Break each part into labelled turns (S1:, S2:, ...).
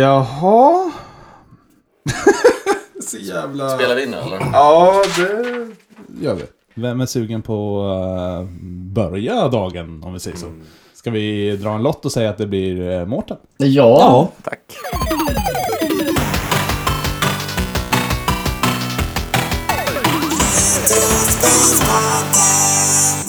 S1: Jaha. Så jävla...
S2: Spelar vi in nu eller?
S1: Ja, det gör vi.
S3: Vem är sugen på att börja dagen om vi säger så? Ska vi dra en lott och säga att det blir uh, Mårten?
S4: Ja,
S5: Tack.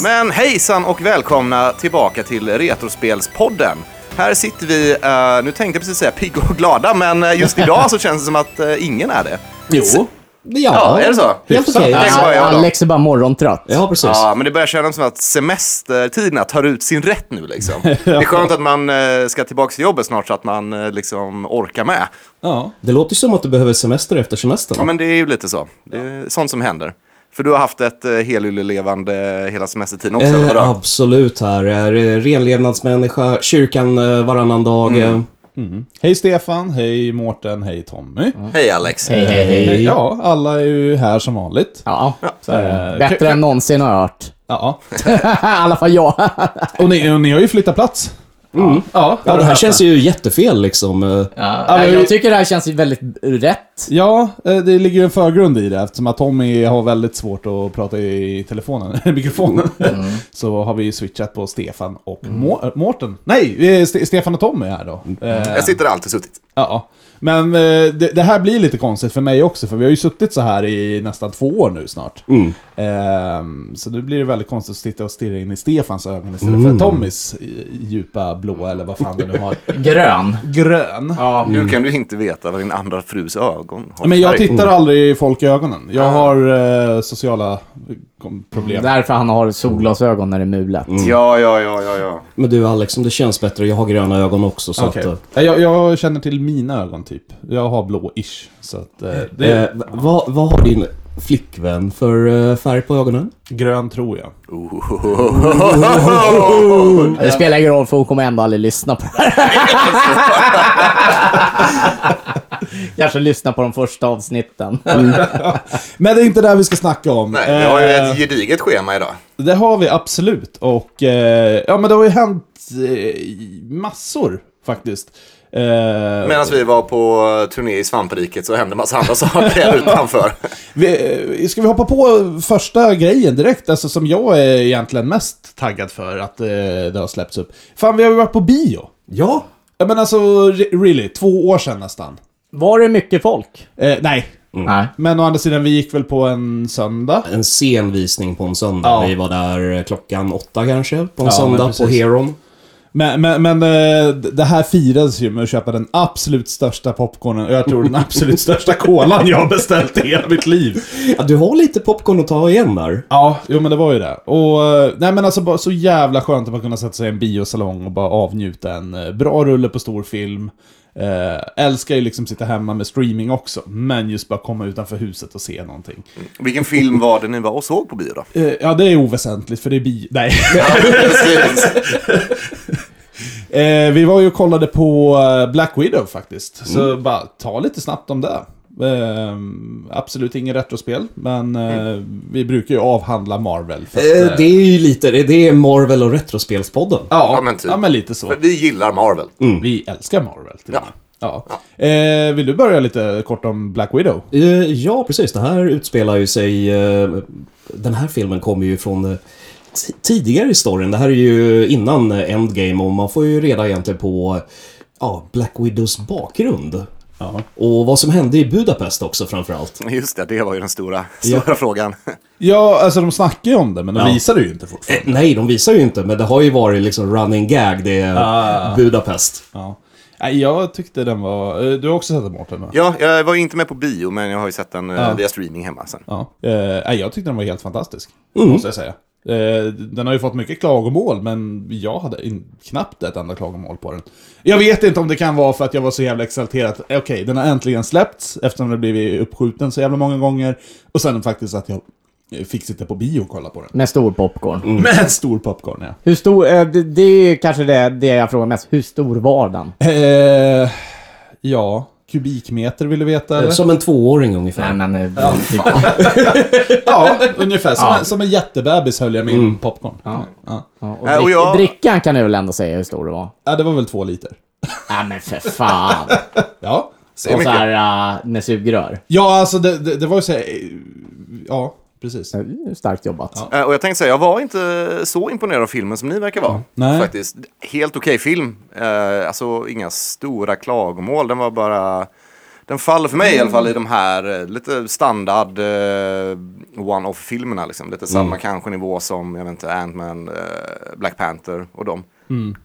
S5: Men hejsan och välkomna tillbaka till Retrospelspodden. Här sitter vi, eh, nu tänkte jag precis säga pigga och glada, men eh, just idag så känns det som att eh, ingen är det.
S4: Jo.
S5: Ja, är det så?
S4: Helt okej.
S5: Alex var jag då.
S4: Alex är bara morgontrött.
S6: Ja, precis.
S5: Ja, men det börjar kännas som att semestertiderna tar ut sin rätt nu liksom. Det är skönt att man eh, ska tillbaka till jobbet snart så att man eh, liksom orkar med.
S3: Ja.
S6: Det låter ju som att du behöver semester efter semestern.
S5: Ja, men det är ju lite så. Det är sånt som händer. För du har haft ett eh, helylelevande hela semestertiden också, eller
S6: eh,
S5: vadå?
S6: absolut här. Eh, renlevnadsmänniska, kyrkan eh, varannan dag. eh.
S3: Hej Stefan, hej Mårten, hej Tommy.
S5: Hej Alex.
S4: Hej, hej, hej.
S3: Ja, alla är ju här som vanligt.
S4: Ja.
S3: Så, eh, kul-
S4: Bättre än någonsin har jag hört.
S3: Ja.
S4: I alla fall jag.
S3: Och ni, och ni har ju flyttat plats.
S1: Ja,
S6: Ja, det här känns ju jättefel liksom. eh.
S4: Ja, jag tycker det här känns väldigt rätt.
S3: Ja, eh, det ligger ju en förgrund i det eftersom att Tommy har väldigt svårt att prata i telefonen, mikrofonen. Så har vi ju switchat på Stefan och Må- äh, Mårten. Nej, eh, Ste- Stefan och Tommy här då. Eh,
S5: Jag sitter alltid suttit.
S3: Ja, men eh, det, det här blir lite konstigt för mig också, för vi har ju suttit så här i nästan två år nu snart.
S5: Mm.
S3: Ehm, så nu blir det väldigt konstigt att sitta och stirra in i Stefans ögon istället
S5: Mm.
S3: för Tommys i- djupa blå, eller vad fan du nu har,
S4: Grön.
S3: grön.
S5: Hur kan du inte veta vad din andra frus ögon har
S3: Mm. Men jag
S5: färg?
S3: tittar aldrig folk i ögonen.
S5: Ah.
S3: Jag har eh, sociala kom- problem.
S4: Därför han har solglasögon när det är mulet.
S3: Mm.
S5: Ja, ja, ja, ja, ja.
S6: Men du Alex, om det känns bättre, jag har gröna ögon också. Så
S3: Okej.
S6: att, eh,
S3: Nej, Jag, jag känner till mina ögon typ. Jag har blå-ish. Så att, eh, det är
S6: eh, v- vad, vad har din flickvän för eh, färg på ögonen?
S3: grön tror jag.
S4: Det spelar ingen roll för hon kommer ändå aldrig lyssna på det här. Kanske lyssna på de första avsnitten.
S3: Men det är inte där vi ska snacka om.
S5: Nej, vi har ju
S3: Eh,
S5: ett gediget schema idag.
S3: Det har vi absolut och eh, ja men det har ju hänt eh, massor faktiskt. Eh,
S5: Medan vi var på turné i svampriket så hände massa andra saker här utanför.
S3: vi, eh, ska vi hoppa på första grejen direkt, alltså som jag är egentligen mest taggad för att eh, det har släppts upp. Fan vi har ju varit på bio.
S6: Ja.
S3: Ja men alltså re- really, två år sedan nästan.
S4: Var det mycket folk?
S3: Eh, nej,
S4: Nej.
S3: men å andra sidan vi gick väl på en söndag.
S6: En sen visning på en söndag.
S3: Ja.
S6: Vi var där eh, klockan åtta kanske, på en
S3: Ja, men
S6: söndag på
S3: precis.
S6: Heron.
S3: Men, men, men eh, d- det här firades ju med att köpa den absolut största popcornen och jag tror den absolut största kolan jag har beställt i hela mitt liv.
S6: Ja, du har lite popcorn att ta igen där.
S3: Ja, jo men det var ju det. Och, eh, nej men alltså bara så jävla skönt att man kunna sätta sig i en biosalong och bara avnjuta en eh, bra rulle på stor film. Eh, älskar ju liksom sitta hemma med streaming också, men just bara komma utanför huset och se någonting.
S5: Vilken film var det ni var och såg på bio då?
S3: Eh, ja, det är oväsentligt för det är bio... Nej. eh, vi var ju och kollade på eh, Black Widow faktiskt, så bara ta lite snabbt om det. Eh, absolut ingen retrospel, men eh, vi brukar ju avhandla Marvel. för att, eh,
S6: Eh, det är ju lite, det- det är Marvel och Retrospelspodden.
S3: Ja,
S5: Ja, men typ.
S3: lite så.
S5: Men vi gillar Marvel.
S3: Vi älskar Marvel. Till
S5: Ja.
S3: och med. Mm. ja. Eh, vill du börja lite kort om Black Widow?
S6: Eh, Ja, precis. Det här utspelar ju sig... eh, Den här filmen kommer ju från eh, ti- tidigare i storyn. Det här är ju innan eh, Endgame och man får ju reda egentligen på ja, Black Widows bakgrund.
S3: Ja.
S6: Och vad som hände i Budapest också framförallt.
S5: Just det, det var ju den stora, stora frågan.
S3: Ja, alltså de snackar ju om det, men de
S6: Ja.
S3: visar det ju inte fortfarande.
S6: Nej, de visar ju inte, men det har ju varit liksom running gag, det är Budapest.
S3: Ja. Nej, jag tyckte den var... eh, Du har också sett den, Mårten? va?
S5: Ja, jag var ju inte med på bio, men jag har ju sett den eh, via streaming hemma sen.
S3: Ja. Eh, nej, jag tyckte den var helt fantastisk, måste jag säga. Eh, den har ju fått mycket klagomål, men jag hade in, knappt ett enda klagomål på den. Jag vet inte om det kan vara för att jag var så jävla exalterad. Okej, den har äntligen släppts, eftersom den har blivit uppskjuten så jävla många gånger. Och sen faktiskt att jag eh, fick sitta på bio och kolla på den.
S4: Med stor popcorn.
S3: Med en stor popcorn, ja.
S4: Hur stor, eh, det, det är kanske det, det jag frågar mest. Hur stor var den?
S3: Eh, ja, kubikmeter vill du veta eller?
S6: Som en tvååring ungefär.
S4: men... eh, typ-
S3: ja, ungefär. Som, en, som en jättebebis höll jag min popcorn. Ja. Ja.
S4: Ja, och
S5: Nej, och
S4: drick-
S5: jag-
S4: Drickan kan du väl ändå säga hur stor det var?
S3: ja, det var väl två liter.
S4: Nej men för fan.
S3: Ja.
S5: Det är
S4: Och så
S5: mycket.
S4: här äh, med sugrör.
S3: Ja, alltså det, det, det var ju så här, eh, Ja, precis.
S4: Eh, Starkt jobbat.
S5: Eh, Och jag tänkte säga, jag var inte så imponerad av filmen som ni verkar vara.
S3: Nej.
S5: Faktiskt. Helt okej film. Eh, Alltså inga stora klagomål. Den var bara... Den faller för mig i alla fall i de här eh, lite standard eh, one-off-filmerna. Liksom. Lite samma kanske nivå som jag vet inte, Ant-Man, eh, Black Panther och dem.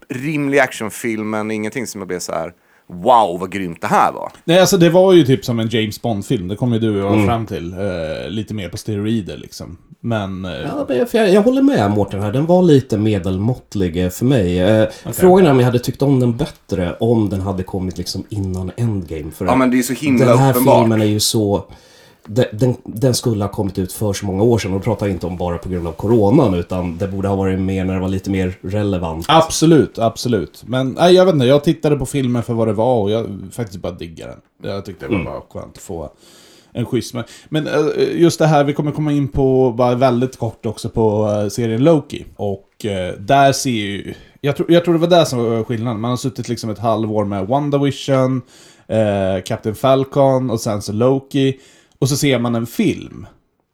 S5: Rimlig actionfilm, men ingenting som jag blev så här wow vad grymt det här var.
S3: Nej, alltså det var ju typ som en James Bond-film. Det kom ju du och jag fram till. Eh, lite mer på steroider liksom. Men... Eh,
S6: Ja, men jag, för jag, jag håller med Mårten här. Den var lite medelmåttlig eh, för mig. Eh, Frågan är om jag hade tyckt om den bättre om den hade kommit liksom innan Endgame. För
S5: Ja men det är så himla
S6: Den här
S5: uppenbart.
S6: filmen är ju så... Den, den, den skulle ha kommit ut för så många år sedan. Och då pratar jag inte om bara på grund av coronan, utan det borde ha varit mer när det var lite mer relevant.
S3: Absolut, absolut. Men nej, jag vet inte, jag tittade på filmen för vad det var och jag faktiskt bara diggade den. Jag tyckte det var bara skönt att få en schysst. Men, men eh, just det här, vi kommer komma in på, bara väldigt kort också, på eh, serien Loki. Och eh, där ser ju... Jag tror, jag tror det var där som var skillnaden. Man har suttit liksom ett halvår med WandaVision, eh, Captain Falcon och sen så Loki. Och så ser man en film.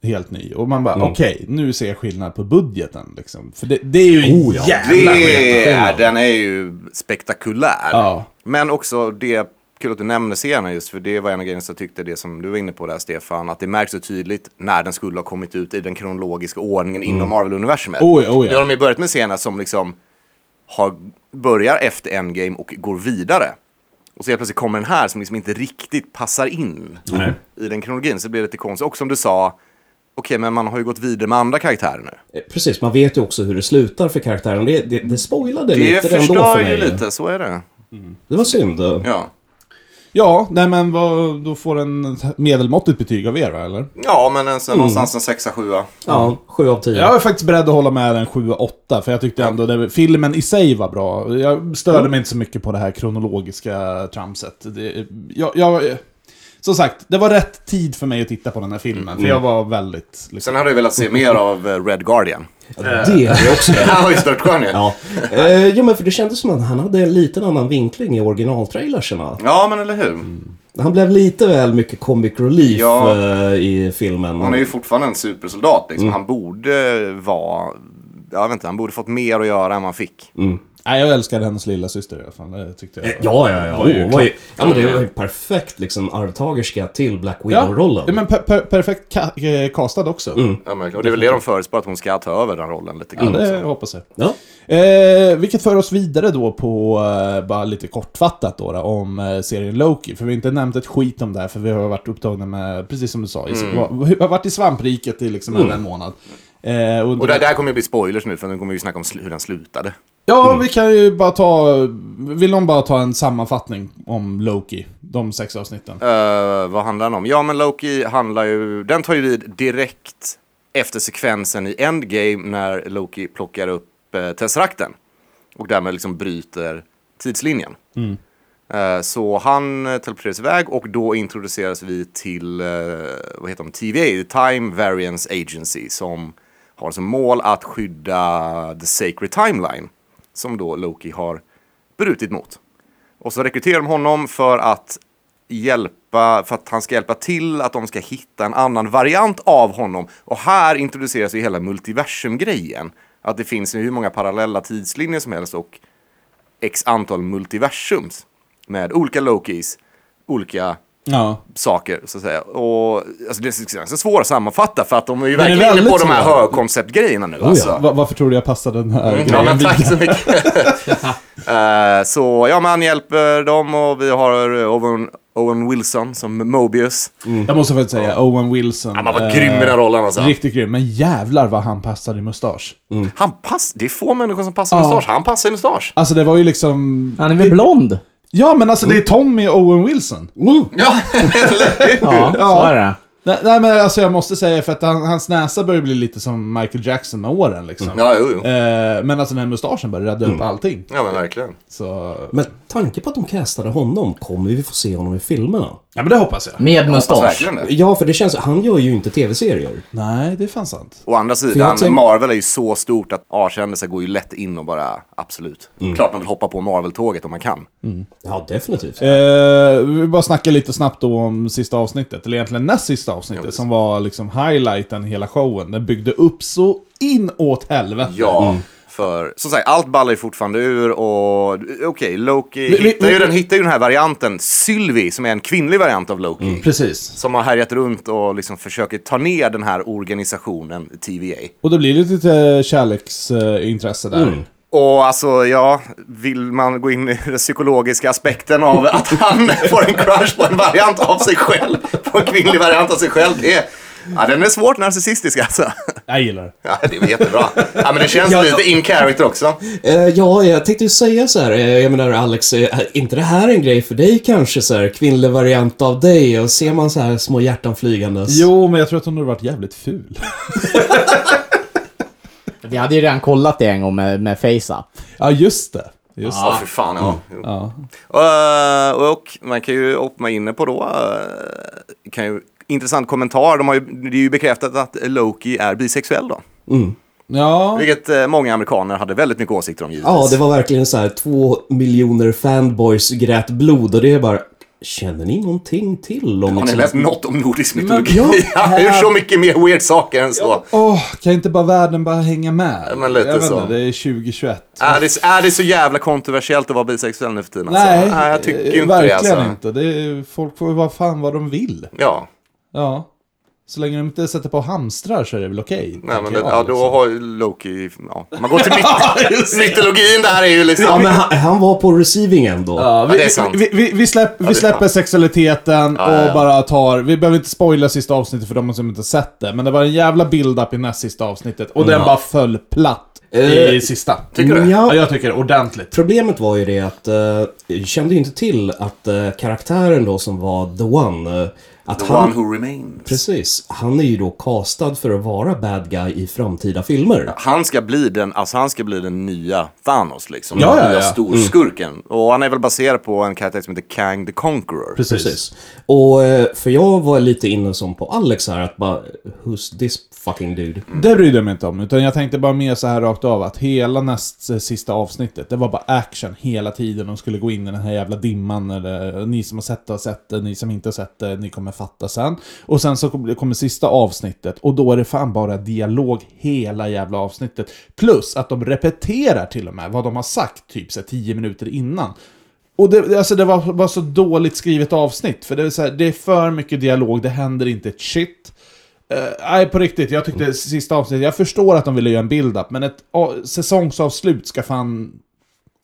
S3: Helt ny. Och man bara,
S5: Mm.
S3: okej, nu ser jag skillnad på budgeten liksom. För det, det är ju en
S6: Oh, ja.
S3: jävla
S5: Det är,
S3: skillnad.
S5: den är ju spektakulär.
S3: Ja.
S5: Men också det, kul att du nämner scenen just, för det var en av grejerna som jag tyckte, det som du var inne på där Stefan, att det märks så tydligt när den skulle ha kommit ut i den kronologiska ordningen inom Marvel-universumet.
S3: Mm. Oh ja, oh ja.
S5: Nu har de ju börjat med scener som liksom har, börjar efter Endgame och går vidare. Och så helt plötsligt kommer den här som liksom inte riktigt passar in i den kronologin, så det blir lite konstigt. Och som du sa, okej, men man har ju gått vidare med andra karaktärer nu.
S6: Eh, Precis, man vet ju också hur det slutar för karaktären. Det, det, det spoilade
S5: Det
S6: lite ändå
S5: förstör
S6: för
S5: ju
S6: mig.
S5: lite, så är det.
S6: Det var synd. eh.
S5: Ja.
S3: Ja, nej men vad, då får den ett medelmåttigt betyg av er va, eller?
S5: Ja, men en, mm. någonstans en sexa, sjua.
S6: Ja, sju av tio.
S3: Jag är faktiskt beredd att hålla med den 7-8, för jag tyckte ändå det, filmen i sig var bra. Jag störde mig inte så mycket på det här kronologiska tramset. Det, jag, jag, som sagt, det var rätt tid för mig att titta på den här filmen, för jag var väldigt... Liksom,
S5: Sen hade jag velat se mer av eh, Red Guardian.
S6: Det är jag också.
S5: Han var ju störtskön ju.
S6: Ja. Eh, jo, men för det kändes som att han hade en liten annan vinkling i originaltrailerserna.
S5: Ja, men eller hur?
S6: Han blev lite väl mycket comic relief
S5: Ja.
S6: eh, i filmen.
S5: Han är ju fortfarande en supersoldat. Liksom. Han borde vara... Jag vet inte, han borde fått mer att göra än man fick.
S3: nej, jag älskade hennes lilla syster i alla fall, det tyckte jag.
S6: Eh, Ja, ja, ja.
S3: Var ju
S6: Åh, var ju, ja men det var ju perfekt liksom arvtagerska till Black Widow-rollen.
S3: ja, men per, per, perfekt ka- eh, castad också.
S5: Ja, men, och det är väl det de förutspår, att hon ska ta över den rollen lite
S3: Ja,
S5: grann.
S3: det
S5: också.
S3: hoppas jag.
S6: Ja.
S3: Eh, vilket för oss vidare då på, eh, bara lite kortfattat då, då om eh, serien Loki. För vi har inte nämnt ett skit om det här, för vi har varit upptagna med, precis som du sa, i,
S5: Mm.
S3: vi har varit i svampriket i liksom över en månad. Eh,
S5: Och det det här kommer ju bli spoilers nu, för nu kommer vi ju snacka om sl- hur den slutade.
S3: Ja,
S5: Mm.
S3: vi kan ju bara ta, vill någon bara ta en sammanfattning om Loki, de sex avsnitten?
S5: Eh, vad handlar den om? Ja, men Loki handlar ju... Den tar ju vid direkt efter sekvensen i Endgame när Loki plockar upp eh, Tesserakten. Och därmed liksom bryter tidslinjen. Eh, så han eh, teleporteras iväg och då introduceras vi till eh, vad heter de? TVA, Time Variance Agency, som har som mål att skydda The Sacred Timeline, som då Loki har brutit mot. Och så rekryterar de honom för att hjälpa, för att han ska hjälpa till att de ska hitta en annan variant av honom. Och här introduceras ju hela multiversum-grejen. Att det finns hur många parallella tidslinjer som helst och x antal multiversums med olika Lokis, olika
S3: Ja.
S5: saker så att säga. Och alltså, det är ganska svårt att sammanfatta för att de är ju
S3: Den är
S5: verkligen inne på
S3: väldigt Oh
S5: de här
S3: svår.
S5: högkonceptgrejerna nu. alltså. Mm.
S3: Va- varför tror du jag passade den här
S5: Ja,
S3: grejen
S5: men
S3: vidare?
S5: tack så mycket. Eh, så ja, men han hjälper dem och vi har eh, Owen, Owen Wilson som Mobius.
S3: Jag måste faktiskt säga, Owen Wilson.
S5: Han var
S3: Mm. eh,
S5: grym i den rollen alltså. Mm.
S3: Riktigt grym, men jävlar vad han passade i mustasch.
S5: Han pass, det är få människor som passar
S3: Ja.
S5: mustasch. Han passar i mustasch.
S3: Alltså det var ju liksom...
S4: Han är väl blond?
S3: Ja, men alltså det är Tommy och Owen Wilson.
S5: Ja,
S4: Ja, så är det.
S3: Nej, nej men alltså jag måste säga för att han, hans näsa börjar bli lite som Michael Jackson med åren liksom.
S5: ja jo, jo.
S3: Eh, men alltså den här mustaschen börjar rädda upp allting.
S5: Ja, men verkligen.
S3: Så...
S6: Med tanke på att de castade honom kommer vi få se honom i filmerna.
S3: Ja, men det hoppas jag.
S2: Med
S5: Fast
S2: mustasch.
S5: verkligen det.
S6: Ja, för det känns... Han gör ju inte tv-serier.
S3: Nej, det är fan sant.
S5: Å andra
S6: jag
S5: sidan,
S6: tänk-
S5: Marvel är ju så stort att A-kändisar går ju lätt in och bara absolut. Klart man vill hoppa på Marvel-tåget om man kan.
S6: Ja, definitivt.
S3: Eh, vi vill bara snacka lite snabbt då om sista avsnittet, eller egentligen näst sista avsnittet, som var liksom highlighten i hela showen. Den byggde upp så inåt helvete.
S5: Ja, för som sagt, allt ballar ju fortfarande ur och okej, Loki
S3: Men- men-
S5: hittar, ju,
S3: men-
S5: den, hittar ju den här varianten, Sylvie, som är en kvinnlig variant av Loki.
S3: Mm. Precis.
S5: Som har härjat runt och liksom försöker ta ner den här organisationen, TVA.
S3: Och det blir lite kärleksintresse där.
S5: Och alltså, ja, vill man gå in i den psykologiska aspekten av att han får en crush på en variant av sig själv, på en kvinnlig variant av sig själv, det är, ja, den är svårt narcissistisk alltså.
S3: Jag gillar det.
S5: Ja, det är väl jättebra. Ja, men det känns lite in character också.
S6: Eh, ja, jag tänkte ju säga så här. eh, jag menar Alex, eh, är inte det här en grej för dig kanske? Så här, kvinnlig variant av dig och ser man så här små hjärtan flygandes.
S3: Jo, men jag tror att hon hade varit jävligt ful.
S4: Vi hade ju redan kollat det en gång med, med FaceUp.
S3: ja, just det. Just
S5: Ja, för fan. Ja. Jo.
S3: Ja.
S5: Eh, och man kan ju hoppa inne på då, eh, kan ju, intressant kommentar, de har ju, det är ju bekräftat att Loki är bisexuell då.
S3: det. Ja.
S5: Vilket eh, många amerikaner hade väldigt mycket åsikter om givetvis.
S6: Ja, det var verkligen så här två miljoner fanboys grät blod och det är bara, känner ni någonting till om
S5: Har ni
S6: liksom-
S5: läst något om nordisk mytologi?
S3: Men-
S5: Ja, det är så mycket mer weird saker än så.
S3: Åh, kan inte bara världen bara hänga med?
S5: men lite
S3: jag vet
S5: så.
S3: Inte, det är 2021.
S5: Är, det, är det så jävla kontroversiellt att vara bisexuell nu för tiden?
S3: Nej,
S5: alltså? Nej jag tycker
S3: eh,
S5: ju inte det.
S3: verkligen
S5: Alltså.
S3: inte. Det är, folk får ju vara fan vad de vill.
S5: Ja,
S3: Ja. Så länge de inte sätter på hamstrar så är det väl okej.
S5: nej, men det,
S3: tänker jag,
S5: ja, då
S3: liksom.
S5: har ju Loki... Ja. Man går till myt- mytologin där är ju liksom...
S6: Ja, men han, han var på receiving end då.
S3: Ja,
S5: Ja, det är sant.
S3: vi, vi, vi, vi, släpp, vi släpper sexualiteten och bara tar... Vi behöver inte spoila sista avsnittet för de som inte sett det, men det var en jävla build-up i näst sista avsnittet och den bara föll platt i sista.
S5: Eh, Tycker du?
S3: Ja, jag tycker det. Ordentligt.
S6: Mm, Problemet var ju det att eh, jag kände ju inte till att eh, karaktären då som var The One, eh, att
S5: The
S6: han...
S5: one who remains.
S6: Precis. Han är ju då castad för att vara bad guy i framtida filmer.
S5: Han ska bli den, alltså han ska bli den nya Thanos liksom.
S3: Ja,
S5: den
S3: ja, Mm.
S5: nya
S3: ja.
S5: storskurken. Och han är väl baserad på en karaktär som heter Kang the Conqueror.
S3: Precis.
S6: Precis. Och eh, för jag var lite inne som på Alex här att bara, who's this fucking dude?
S3: Mm. Det brydde jag mig inte om, utan jag tänkte bara mer så här rakt av att hela näst eh, sista avsnittet, det var bara action hela tiden. De skulle gå in i den här jävla dimman, eller eh, ni som har sett det har sett det, ni som inte har sett det, ni kommer fatta sen. Och sen så kom- kommer sista avsnittet, och då är det fan bara dialog hela jävla avsnittet. Plus att de repeterar till och med vad de har sagt, typ så här, tio minuter innan. Och det, alltså det var, var så dåligt skrivet avsnitt, för det är, så här, det är för mycket dialog, det händer inte ett shit. Eh, Nej, på riktigt. Jag tyckte sista avsnittet, jag förstår att de ville göra en build-up, men ett a- säsongsavslut ska fan...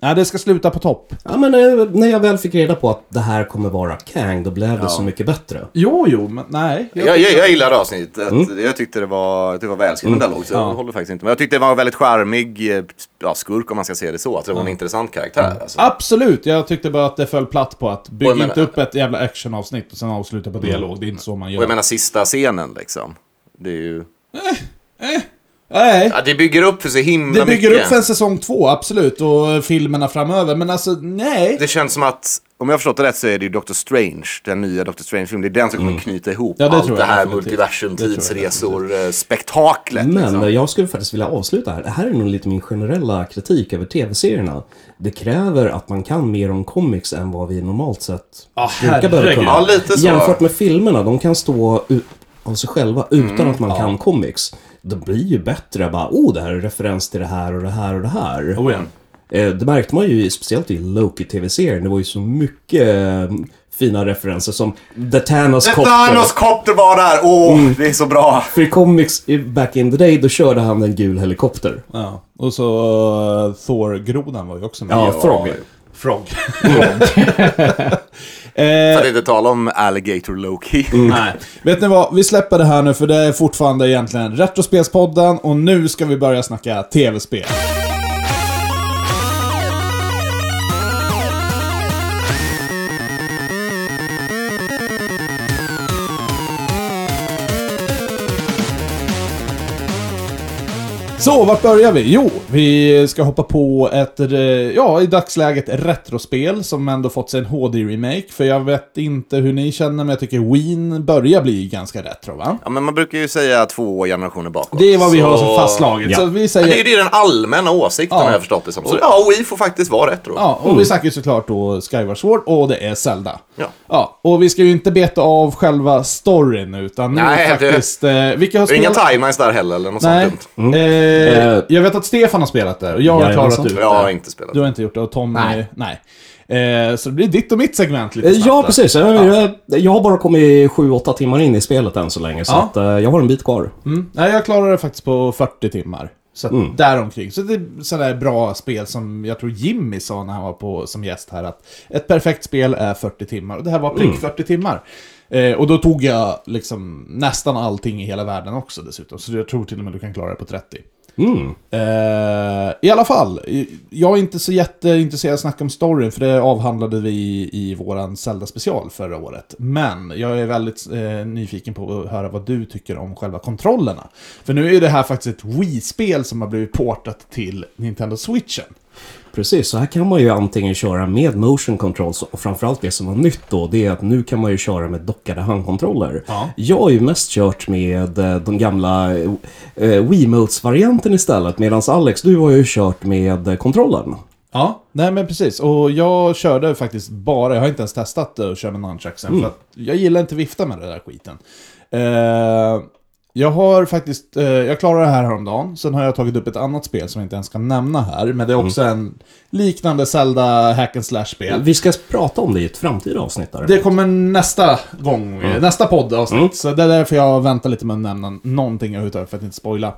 S3: Nej, det ska sluta på topp.
S6: Ja, men eh, när jag väl fick reda på att det här kommer vara Kang, då blev det så mycket bättre.
S3: Jo, jo, men nej.
S5: Jag, jag, jag gillade avsnittet.
S3: Mm.
S5: Jag tyckte det var, det var välskriven dialog, så jag håller faktiskt inte med. Jag tyckte det var en väldigt charmig eh, ja, skurk om man ska se det så. Att det
S3: Mm.
S5: var en intressant karaktär. Alltså.
S3: Absolut, jag tyckte bara att det föll platt på att bygga
S5: Och jag menar-
S3: inte upp ett jävla actionavsnitt och sen avsluta på dialog. Det är inte så man
S5: Och jag
S3: gör.
S5: menar sista scenen liksom. Det, är ju,
S3: Nej,
S5: ja, det bygger upp för så himla
S3: det bygger
S5: mycket.
S3: upp för en säsong två, absolut, och filmerna framöver, men alltså nej.
S5: Det känns som att, om jag har förstått det rätt så är det ju Doctor Strange, den nya Doctor Strange-filmen. Det är den som kommer knyta ihop
S3: Mm. Ja, det
S5: allt
S3: tror
S5: det
S3: jag
S5: här
S3: definitivt.
S5: multiversum,
S3: Det tror jag
S5: tidsresor, eh, spektaklet.
S6: Men
S5: liksom.
S6: eh, jag skulle faktiskt vilja avsluta här. Det här är nog lite min generella kritik över tv-serierna. Det kräver att man kan mer om comics än vad vi normalt sett
S3: Ja,
S6: brukar behöva
S3: herregud.
S6: kunna.
S5: Ah, Ja, lite så.
S6: Jämfört med filmerna, de kan stå u- av sig själva utan
S5: Mm,
S6: att man kan comics. Det blir ju bättre bara, oh det här är referens till det här och det här och det här.
S3: Oh, igen.
S6: Eh, Det märkte man ju i- speciellt i Loki-tv-serien. Det var ju så mycket eh, fina referenser som The Thanos
S5: The
S6: Copter.
S5: Thanos Copter var där! Åh,
S3: Mm.
S5: det är så bra!
S6: För i comics i- back in the day, då körde han en gul helikopter.
S3: Ja. Och så eh, Thor-grodan var ju också med.
S6: Ja, Frog.
S3: Frog. Eh.
S5: För att inte tala om Alligator Loki.
S3: Nej. Vet ni vad? Vi släpper det här nu för det är fortfarande egentligen Retrospelspodden och nu ska vi börja snacka tv-spel. Så, vart börjar vi? Jo, vi ska hoppa på ett, eh, ja, i dagsläget retrospel som ändå fått sig en HD-remake. För jag vet inte hur ni känner, men jag tycker Wien börjar bli ganska retro, va?
S5: Ja, men man brukar ju säga två generationer bakåt.
S3: Det är vad vi har
S5: Så-
S3: som fastslaget.
S6: Ja.
S3: Så vi
S5: Men Det
S3: säger...
S5: är ju det är den allmänna åsikten
S3: Ja.
S5: har jag förstått det som. Så ja, Wii får faktiskt vara rätt då.
S3: Ja, och vi snackar ju såklart då Skyward Sword och det är Zelda.
S5: Ja.
S3: ja. Och vi ska ju inte beta av själva storyn, utan nu
S5: Nej, det-
S3: faktiskt... Eh, vilka har
S5: Det är inga
S3: spelat...
S5: timelines där heller eller något
S3: Nej.
S5: sånt dumt.
S3: Eh,
S6: Eh,
S3: jag vet att Stefan har spelat det och jag har
S6: Jajamensan.
S3: klarat ut det.
S5: Jag har inte spelat.
S3: Du har inte gjort det och Tommy... Nej.
S4: Nej.
S3: Eh, så det blir ditt och mitt segment lite snabbt
S6: Eh, Ja,
S3: där.
S6: precis. Jag, jag, jag har bara kommit 7-8 timmar in i spelet än så länge, så
S3: Ja.
S6: att, eh, jag har en bit kvar.
S3: Mm. Nej, jag klarade det faktiskt på 40 timmar. Så att däromkring. Så det är sådär bra spel som jag tror Jimmy sa när han var på, som gäst här att ett perfekt spel är 40 timmar. Och det här var prick 40 timmar. Eh, och då tog jag liksom nästan allting i hela världen också dessutom. Så jag tror till och med du kan klara det på 30. Eh, I alla fall, eh, jag är inte så jätteintresserad av att snacka om storyn, för det avhandlade vi i våran Zelda-special förra året. Men jag är väldigt eh, nyfiken på att höra vad du tycker om själva kontrollerna. För nu är det här faktiskt ett Wii-spel som har blivit portat till Nintendo Switchen.
S6: Precis, så här kan man ju antingen köra med motion controls och framförallt det som var nytt då, det är att nu kan man ju köra med dockade handkontroller.
S3: Ja.
S6: Jag har ju mest kört med eh, de gamla eh, Wiimotes-varianten istället, medan Alex, du har ju kört med eh, kontrollen.
S3: Ja, nej men precis. Och jag körde faktiskt bara, jag har inte ens testat att köra med nunchucksen, för att jag gillar inte vifta med den där skiten. Eh, jag har faktiskt, eh, jag klarade det här häromdagen, sen har jag tagit upp ett annat spel som jag inte ens kan nämna här, men det är också en liknande Zelda hack and slash-spel.
S6: Vi ska prata om det i ett framtida avsnitt där.
S3: Det kommer nästa gång, nästa poddavsnitt.
S6: Mm.
S3: Så det är därför jag väntar lite med att nämna någonting överhuvudtaget för att inte spoila.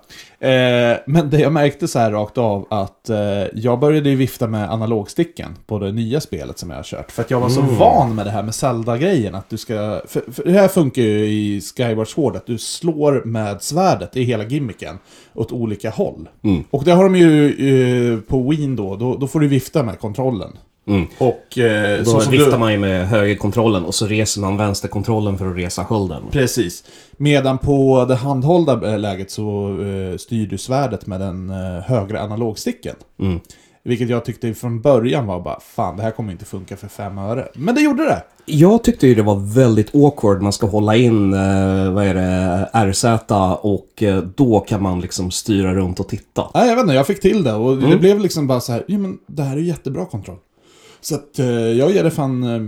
S3: Eh, men det jag märkte så här rakt av att eh, jag började ju vifta med analogsticken på det nya spelet som jag har kört. För att jag var så
S6: Mm.
S3: van med det här med Zelda-grejen. Att du ska... För, för det här funkar ju i Skyward Sword, att du slår med svärdet, det är hela gimmicken, åt olika håll.
S6: Mm.
S3: Och det har de ju eh, på Wien då, då, då får du vifta med kontrollen. Och eh,
S6: Mm. Då
S3: så som
S6: viftar
S3: du...
S6: man ju med högerkontrollen och så reser man vänsterkontrollen för att resa skölden.
S3: Precis. Medan på det handhållda eh, läget så eh, styr du svärdet med den eh, högra analogsticken. Vilket jag tyckte från början var bara, fan det här kommer inte funka för fem öre. Men det gjorde det!
S6: Jag tyckte ju det var väldigt awkward. Man ska hålla in eh, vad är det, RZ och eh, då kan man liksom styra runt och titta.
S3: Nej, jag vet inte, jag fick till det och det blev liksom bara så här, ja men det här är ju jättebra kontroll. Så att eh, jag ger det fan eh,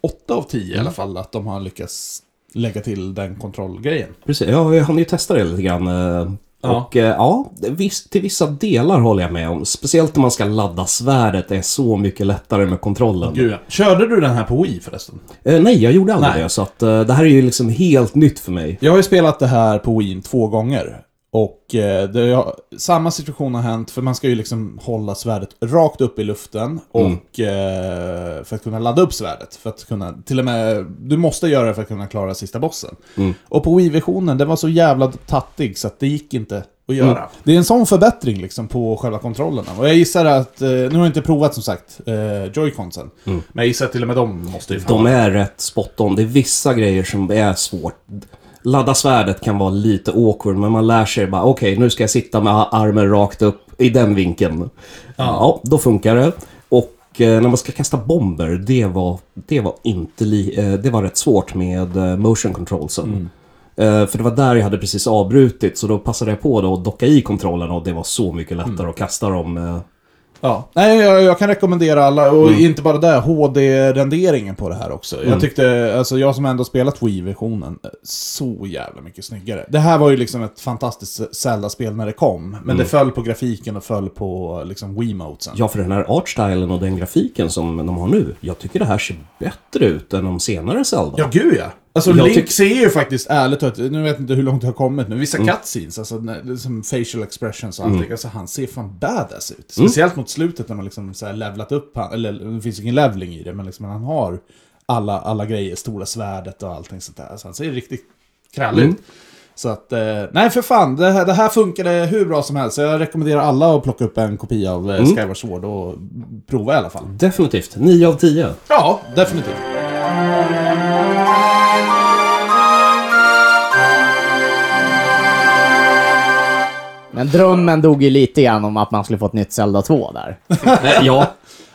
S3: 8 av 10 i alla fall att de har lyckats lägga till den kontrollgrejen.
S6: Precis. Ja, jag hann ju testa det lite grann. eh,
S3: Ja.
S6: Och eh, ja, viss, till vissa delar håller jag med om. Speciellt när man ska ladda svärdet. Det är så mycket lättare med kontrollen.
S3: Gud, ja. Körde du den här på Wii förresten?
S6: Eh, nej, jag gjorde aldrig
S3: Nej.
S6: det. Så att, eh, det här är ju liksom helt nytt för mig.
S3: Jag har ju spelat det här på Wien två gånger. Och eh, det har, samma situation har hänt, för man ska ju liksom hålla svärdet rakt upp i luften och eh, för att kunna ladda upp svärdet. För att kunna, till och med, du måste göra det för att kunna klara sista bossen. Och på Wii-versionen, den var så jävla tattig så att det gick inte att göra. Det är en sån förbättring liksom på själva kontrollerna. Och jag gissar att, eh, nu har jag inte provat som sagt, eh, joyconsen. Men jag gissar att till och med de måste ju fan
S6: De är rätt spot on. Det är vissa grejer som är svårt. Ladda svärdet kan vara lite awkward, men man lär sig bara okej, nu ska jag sitta med armen rakt upp i den vinkeln. Ja, då funkar det. Och eh, när man ska kasta bomber, det var, det var, inte li, eh, det var rätt svårt med eh, motion controlsen. Eh, För det var där jag hade precis avbrutit, så då passade jag på då att docka i kontrollen och det var så mycket lättare att kasta dem. eh,
S3: Ja, nej jag, jag kan rekommendera alla, och inte bara det, HD-renderingen på det här också. Jag tyckte, alltså jag som ändå spelat Wii-versionen, eh, så jävla mycket snyggare. Det här var ju liksom ett fantastiskt Zelda-spel när det kom, men det föll på grafiken och föll på liksom Wiimotesen.
S6: Ja, för den här artstylen och den grafiken som de har nu. Jag tycker det här ser bättre ut än de senare Zelda.
S3: Ja, gud ja! Alltså
S6: Jag
S3: Link
S6: tyck-
S3: ser ju faktiskt, ärligt talat, nu vet jag inte hur långt det har kommit, men vissa cutscenes, alltså när- liksom facial expressions och allting, alltså han ser fan badass ut. Speciellt mot slutet när man liksom så här levlat upp han, eller det finns ingen levling i det, men liksom han har alla, alla grejer, stora svärdet och allting sånt där. Så han ser riktigt krallig ut. Så att, eh, nej för fan, det här, det här funkade hur bra som helst. Så jag rekommenderar alla att plocka upp en kopia av eh, Skyward Sword och prova i alla fall.
S6: Definitivt. 9 av 10.
S3: Ja, definitivt.
S4: Men drömmen dog ju lite grann om att man skulle få ett nytt Zelda 2 där.
S6: Nej, ja.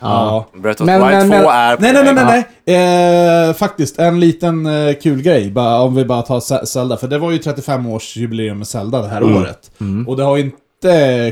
S3: Ja.
S5: Breath of the
S4: Men-
S5: Wild 2
S4: men- men-
S5: är... på
S3: Nej, nej, nej,
S5: väg.
S3: nej, nej. Eh, faktiskt, en liten eh, kul grej, bara, om vi bara tar Ze- Zelda. För det var ju 35-årsjubileum med Zelda det här året. Och det har ju inte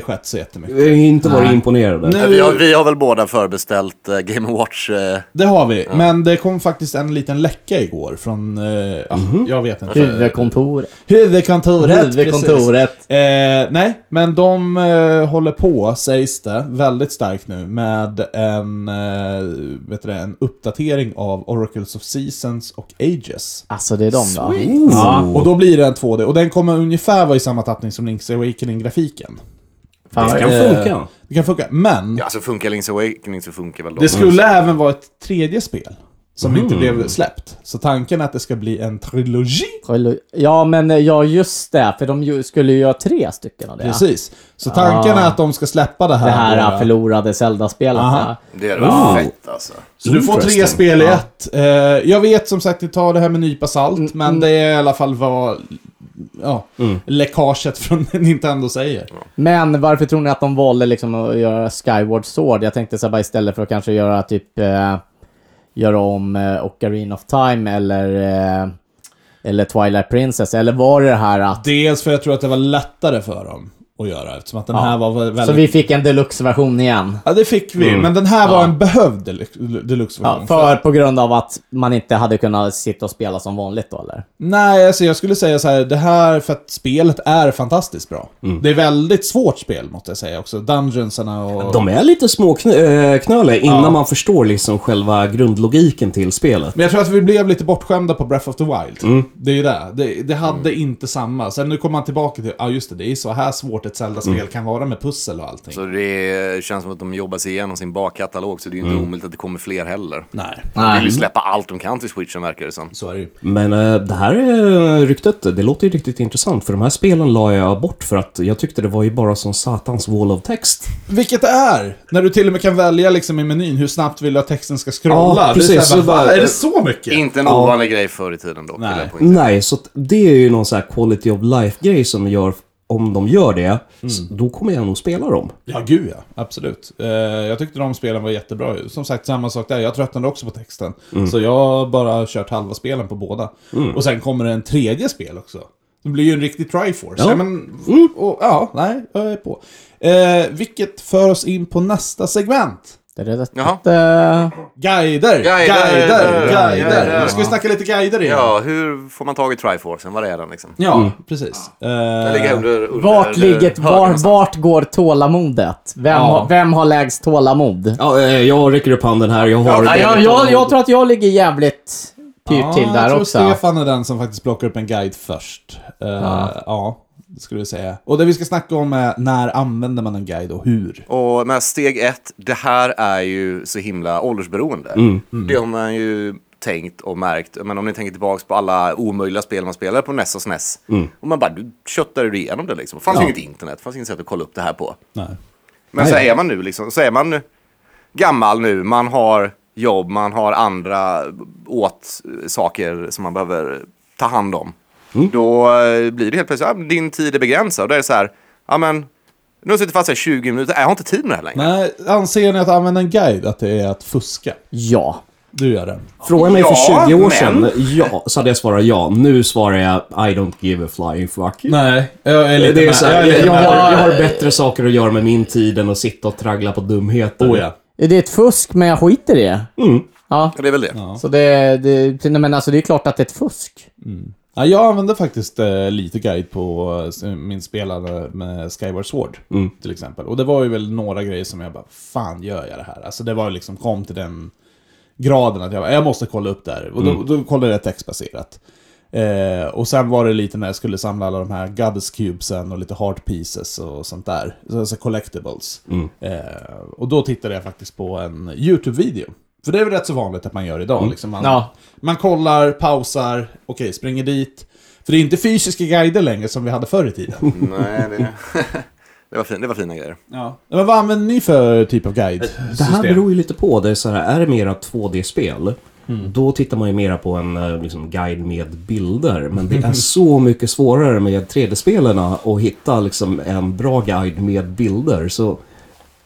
S3: skett så jättemycket.
S6: Vi har inte varit imponerade.
S3: Nej.
S5: Vi har, vi har väl båda förbeställt eh, Game Watch. eh,
S3: Det har vi, men det kom faktiskt en liten läcka igår från... Eh, ja, Jag vet inte. Eh,
S4: Huvudkontoret.
S3: Huvudkontoret.
S4: Huvudkontoret.
S3: precis. Eh, nej, men de eh, håller på, sägs det, väldigt starkt nu med en, eh, vet du det, en uppdatering av Oracles of Seasons och Ages.
S4: Alltså det är de då.
S6: Oh.
S3: Ja, och då blir det en 2D, och den kommer ungefär vara i samma tappning som Link's Awakening-grafiken.
S4: Fan,
S6: Det kan
S3: Eh,
S6: funka.
S3: Det kan funka, men
S5: Ja, så funkar Link's Awakening så funkar väl då.
S3: det skulle även vara ett tredje spel som
S4: Mm.
S3: inte blev släppt. Så tanken är att det ska bli en trilogi
S4: Trilo- Ja, men eh, ja, just det. För de ju- skulle ju göra tre stycken av det.
S3: Precis. Så tanken
S4: Ah.
S3: är att de ska släppa det här.
S4: Det här
S3: då.
S4: eh, förlorade Zelda-spelet.
S3: Aha.
S4: ja.
S5: Det är väl
S3: Oh.
S6: Wow.
S5: fett alltså.
S3: så du får tre
S6: Interesting.
S3: spel i ett. Eh, jag vet som sagt, ni tar det här med en nypa salt,
S4: Mm.
S3: men det är i alla fall vad ja, läckaget från Nintendo säger.
S4: Men varför tror ni att de valde liksom att göra Skyward Sword? Jag tänkte så här bara istället för att kanske göra typ eh, göra om eh, Ocarina of Time eller eh, eller Twilight Princess eller var det det här att
S3: Dels för jag tror att det var lättare för dem att göra, eftersom att den
S4: Ja.
S3: här var vä- väldigt...
S4: så vi fick en deluxe-version igen?
S3: Ja, det fick vi,
S6: Mm.
S3: men den här var en behövd delu-
S4: Ja,
S3: deluxe-version.
S4: för på grund av att man inte hade kunnat sitta och spela som vanligt då eller?
S3: Nej, alltså jag skulle säga så här, det här för att spelet är fantastiskt bra.
S6: Mm.
S3: Det är väldigt svårt spel, måste jag säga också. Dungeonsarna och...
S6: De är lite småknöliga innan man förstår liksom själva grundlogiken till spelet.
S3: Men jag tror att vi blev lite bortskämda på Breath of the Wild.
S6: Mm.
S3: Det är ju det. Det, det hade inte samma. Sen nu kommer man tillbaka till, ja ah, just det, det är så här svårt ett Zelda-spel
S6: Mm.
S3: kan vara med pussel och allting.
S5: Så det känns som att de jobbar sig igenom sin bakkatalog så det är ju inte omöjligt att det kommer fler heller.
S3: Mm. Nej,
S5: De vill ju släppa allt de kan till switchen verkar det som.
S3: så är det ju.
S6: Men eh, det här eh, ryktet, det låter ju riktigt intressant för de här spelen la jag bort för att jag tyckte det var ju bara som satans wall of text.
S3: Vilket det är! När du till och med kan välja liksom i menyn hur snabbt vill du att texten ska scrolla.
S6: Ja,
S3: Det är så här
S6: precis.
S3: bara,
S6: Så bara-
S3: "Fan, är det så mycket?
S5: Inte en ovanlig grej förr i tiden dock. vill jag
S3: Nej.
S5: poängtera.
S6: Nej, så att det är ju någon sån här quality of life-grej som gör, om de gör det, så då kommer jag nog spela dem.
S3: Ja, gud ja. Absolut. Eh, jag tyckte de spelen var jättebra. Som sagt, samma sak där. Jag tröttnade också på texten. Så jag har bara kört halva spelen på båda. Och sen kommer det en tredje spel också. Det blir ju en riktig Triforce.
S6: Ja.
S3: Ja, men, och, ja nej, jag är på. Eh, vilket för oss in på nästa segment.
S4: Det är det,
S5: Jaha.
S4: Eh,
S5: Guider,
S3: Guider, guider, guider.
S5: guider.
S3: Nu ska vi snacka lite guider igen.
S5: Ja, hur får man tag i Triforcen? Var är den liksom?
S3: Ja, precis. Eh,
S5: Den ligger under... under
S4: vart,
S5: eller
S4: ligger,
S5: höger
S4: var,
S5: någonstans.
S4: vart går tålamodet? Vem,
S3: Ja.
S4: har, vem har lägst tålamod?
S6: Ja, eh, jag räcker upp handen här, jag har...
S5: Ja,
S4: Ja, jag, jag, jag tror att jag ligger jävligt pyrt
S3: ja,
S4: till
S3: jag
S4: där
S3: tror
S4: också.
S3: Stefan är den som faktiskt plockar upp en guide först. Eh, ja. det skulle jag säga. Och det vi ska snacka om är när använder man en guide och hur.
S5: Och med steg ett, det här är ju så himla åldersberoende. Det har man ju tänkt och märkt. Men om ni tänker tillbaka på alla omöjliga spel man spelade på NES och SNES. Och man bara, du köttade du igenom det liksom. Det fanns ju inget internet, det fanns inget sätt att kolla upp det här på.
S3: Nej.
S5: Men så är man nu liksom, så är man gammal nu, man har jobb, man har andra åt saker som man behöver ta hand om. Då eh, blir det helt plötsligt, ja, men din tid är begränsad. Och då är det så här, ja men, nu har jag suttit fast här 20 minuter, jag har inte tid med det här längre.
S3: Nej, anser ni att använda en guide att det är att fuska?
S4: Ja.
S3: Du gör det.
S6: Fråga mig
S5: Ja,
S6: för 20 år
S5: men-
S6: sedan, ja, så hade jag svarat ja. Nu svarar jag I don't give a flying fuck.
S3: Nej, jag är
S6: Det är så här, jag, jag, har,
S4: med.
S6: jag har bättre saker att göra med min tid än att sitta och traggla på dumheter.
S3: Oh, ja.
S4: Det är ett fusk, men jag skiter i det.
S3: Mm.
S4: Ja.
S5: Ja, det är väl det.
S4: Så det, det, nej, men alltså det är klart att det är ett fusk.
S3: Ja, jag använde faktiskt eh, lite guide på eh, min spelare med Skyward Sword till exempel. Och det var ju väl några grejer som jag bara, fan gör jag det här? Alltså det var ju liksom, kom till den graden att jag bara, jag måste kolla upp det här. Och då, då kollade jag textbaserat. Eh, och sen var det lite när jag skulle samla alla de här Goddess Cubesen och lite Heart Pieces och sånt där. Så- Alltså collectibles. Eh, och då tittade jag faktiskt på en YouTube-video. För det är väl rätt så vanligt att man gör idag. Liksom man,
S4: Ja.
S3: man kollar, pausar, okej, springer dit. För det är inte fysiska guider längre som vi hade förr i tiden.
S5: Mm, Nej, det, det, var fin, det var fina grejer.
S3: Ja. Men vad använder ni för typ av guide?
S6: Det här beror ju lite på. Det är, så här, är det mera 2D-spel Då tittar man ju mera på en eh, liksom, guide med bilder. Men det är så mycket svårare med 3D-spelarna att hitta liksom, en bra guide med bilder. Så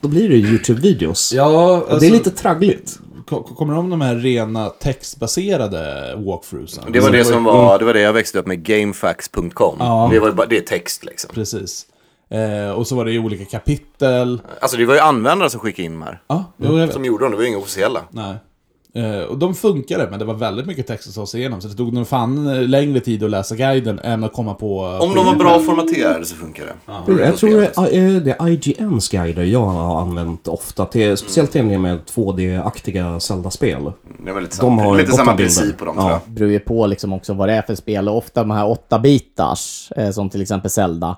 S6: då blir det YouTube-videos.
S3: Ja,
S6: Och det är lite traggligt.
S3: Ko- Kommer de de här rena textbaserade walkthroughsen?
S5: Det var det som var, det var det jag växte upp med, gamefax.com. Det var ju bara, det är text liksom.
S3: Precis. Eh, och så var det i olika kapitel.
S5: Alltså det var ju användare som skickade in de här.
S3: Ja, jo, jag vet.
S5: Som gjorde dem, det var ju inga officiella.
S3: Nej. Eh, och de funkade, men det var väldigt mycket text att ta sig igenom. Så det tog nog fan eh, längre tid att läsa guiden än att komma på...
S5: Om de var bra formaterade så funkar det.
S6: Jag tror det är, eh, det är IGNs guider jag har använt ofta. Till, speciellt tävlingar med 2D-aktiga Zelda-spel.
S5: Det är väl lite,
S6: De
S5: samma-
S6: har
S5: lite
S6: gott
S5: samma
S6: om bilder.
S5: princip på dem
S6: Ja.
S5: tror jag.
S4: beror ju på liksom också vad det är för spel. Och ofta de här åtta bitars eh, som till exempel Zelda,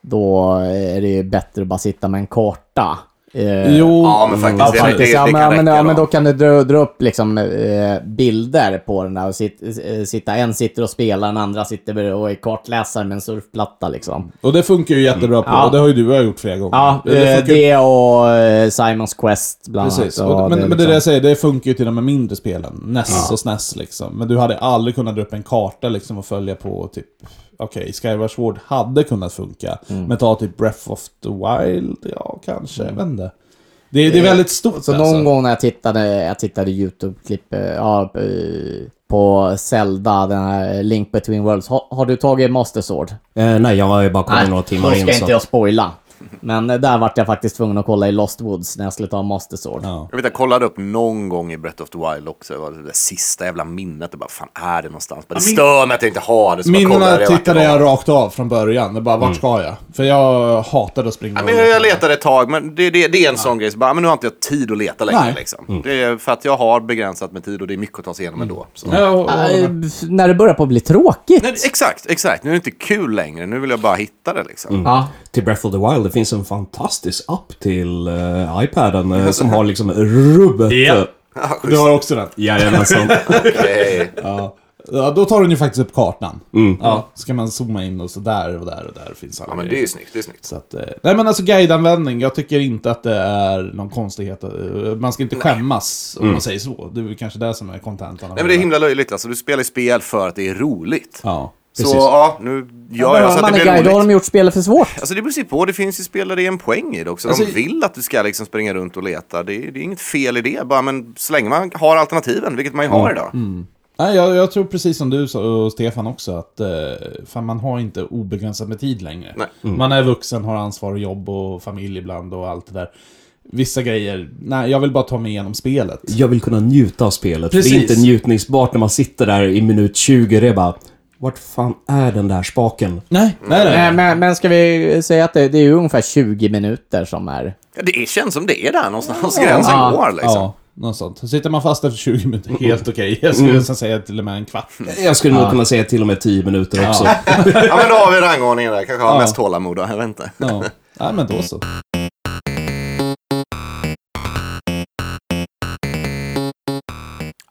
S4: då är det ju bättre att bara sitta med en karta. Eh,
S3: Jo,
S5: Mm. Ja, men
S4: Ja,
S5: faktiskt. Det, det,
S4: faktiskt.
S5: det,
S4: Ja,
S5: kan
S4: men, ja, men,
S5: räcka
S4: ja, men
S5: då.
S4: då kan du dra, dra upp liksom, eh, bilder på den där. Och sit, eh, sitta, en sitter och spelar, den andra sitter och är kartläsare med en surfplatta. Liksom.
S3: och det funkar ju jättebra på.
S4: Mm. Ja.
S3: Och det har ju du och jag gjort flera gånger.
S4: Ja,
S3: det
S4: eh,
S3: funkar ju-
S4: det och eh, Simons Quest bland
S3: Precis,
S4: annat.
S3: och,
S4: Och
S3: men, men det
S4: liksom-
S3: är det jag säger, det funkar ju till de med mindre spelen. NES E och SNES liksom. Men du hade aldrig kunnat dra upp en karta liksom och följa på typ... Okej, Skyward Sword hade kunnat funka.
S4: Mm.
S3: Men ta typ Breath of the Wild, ja kanske, jag vet inte. Det, det är väldigt stort
S4: Så
S3: alltså.
S4: någon gång när jag tittade, jag tittade YouTube-klipp eh, ja, eh, på Zelda, den här eh, Link Between Worlds. Har, har du tagit Master Sword?
S6: Eh, nej, jag har bara kommit några timmar
S4: då
S6: in.
S4: ska
S6: Så
S4: inte jag spoila. Men eh, där vart jag faktiskt tvungen att kolla i Lost Woods när jag skulle ta Master Sword.
S3: Ja.
S5: Jag vet, jag kollade upp någon gång i Breath of the Wild också. Det var det där sista jävla minnet. Det bara, fan är det någonstans? Bara, det stör mig att jag inte har det. Så bara kollade
S3: Minnena
S5: jag vart det
S3: tittade
S5: var. Mm.
S3: jag rakt av från början. Det bara, vart ska jag? För jag hatade att springa
S5: Ja, men jag, jag letade ett tag, men det, det, det är en sån grej. Så bara, men nu har inte jag tid att leta längre.
S3: Nej. Mm.
S5: Liksom. Det är för att jag har begränsat med tid och det är mycket att ta sig igenom ändå. Så.
S3: Ja, och, och,
S4: Eh, när det börjar på att bli tråkigt.
S5: Nej, exakt, exakt. Nu är det inte kul längre. Nu vill jag bara hitta det liksom.
S3: Mm.
S4: Ja.
S6: Till Breath of the Wild, det finns en fantastisk app till eh, iPaden eh, som har liksom rubbet.
S3: Ja.
S5: Ah,
S3: du har också den.
S6: Jajamensan.
S5: Okej.
S3: Ja, då tar den ju faktiskt upp kartan. Ja, så kan man zooma in och så där och där och där finns alla
S5: Mm. Ja, men
S3: grejer.
S5: det är ju snyggt. Det är snyggt.
S3: Så att, eh, nej men alltså guideanvändning, jag tycker inte att det är någon konstighet. eh, Man ska inte skämmas om man säger så. Det är väl kanske det som är kontentan. av
S5: Mm. Nej, men det är
S3: hela-
S5: himla löjligt. Alltså, du spelar ju spel för att det är roligt.
S3: Ja,
S5: så ja, nu gör jag så att
S4: man
S5: det
S4: är
S5: blir
S4: guide, då har
S5: roligt.
S4: de gjort spelet för svårt.
S5: Alltså det beror ju på, det finns ju spel där det är en poäng i det också. De
S3: Alltså-
S5: vill att du ska liksom springa runt och leta. Det är, det är inget fel i det, bara men så länge man har alternativen, vilket man ju
S3: Mm.
S5: har idag.
S3: Nej, jag, jag tror precis som du sa, och Stefan också att eh, fan, man har inte obegränsat med tid längre.
S5: Nej.
S3: Man är vuxen, har ansvar och jobb och familj ibland och allt det där. Vissa grejer, nej jag vill bara ta mig igenom spelet.
S6: Jag vill kunna njuta av spelet. Precis. Det är
S3: Precis.
S6: inte njutningsbart när man sitter där i minut 20. Det är bara, vart fan är den där spaken?
S3: Nej,
S5: Mm.
S3: nej, nej.
S4: Nej, Eh, men, men ska vi säga att det, det är ju ungefär 20 minuter som är...
S5: Ja, det är, känns som det är där någonstans gränsen
S4: Ja.
S5: går liksom.
S3: Ja, något sånt. Så Sitter man fast efter 20 minuter, helt okej. Jag skulle nästan säga till och med en kvart.
S6: Jag skulle nog kunna säga till och med 10 minuter också.
S5: Ja, men då har vi rangordningen där. Kanske har mest tålamod då, jag vet inte.
S3: Ja, nej, men då så.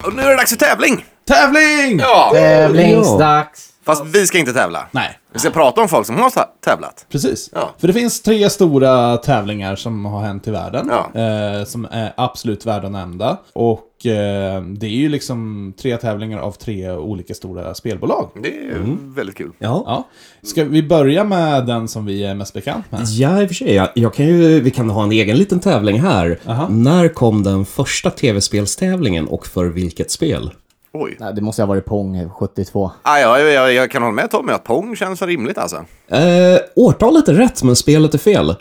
S5: Och nu är det dags för tävling!
S3: Tävling!
S5: Ja!
S4: eh, Tävlingsdags!
S5: Fast vi ska inte tävla.
S3: Nej,
S5: Vi ska prata om folk som har ta- tävlat.
S3: precis.
S5: Ja.
S3: För det finns tre stora tävlingar som har hänt i världen.
S5: Ja.
S3: Eh, som är absolut värda att nämna. Och eh, det är ju liksom tre tävlingar av tre olika stora spelbolag.
S5: Det är ju väldigt kul.
S6: Ja.
S3: Ja. Ska vi börja med den som vi är mest bekant med?
S6: Ja, i och för sig. Jag, jag kan ju, vi kan ha en egen liten tävling här. När kom den första tv-spelstävlingen och för vilket spel?
S5: Oj.
S4: Nej, det måste ha varit Pong 72.
S5: Ah, ja, jag, jag, jag kan hålla med Tommy att Pong känns så rimligt alltså.
S6: Eh, årtalet är rätt, men spelet är fel. Eh,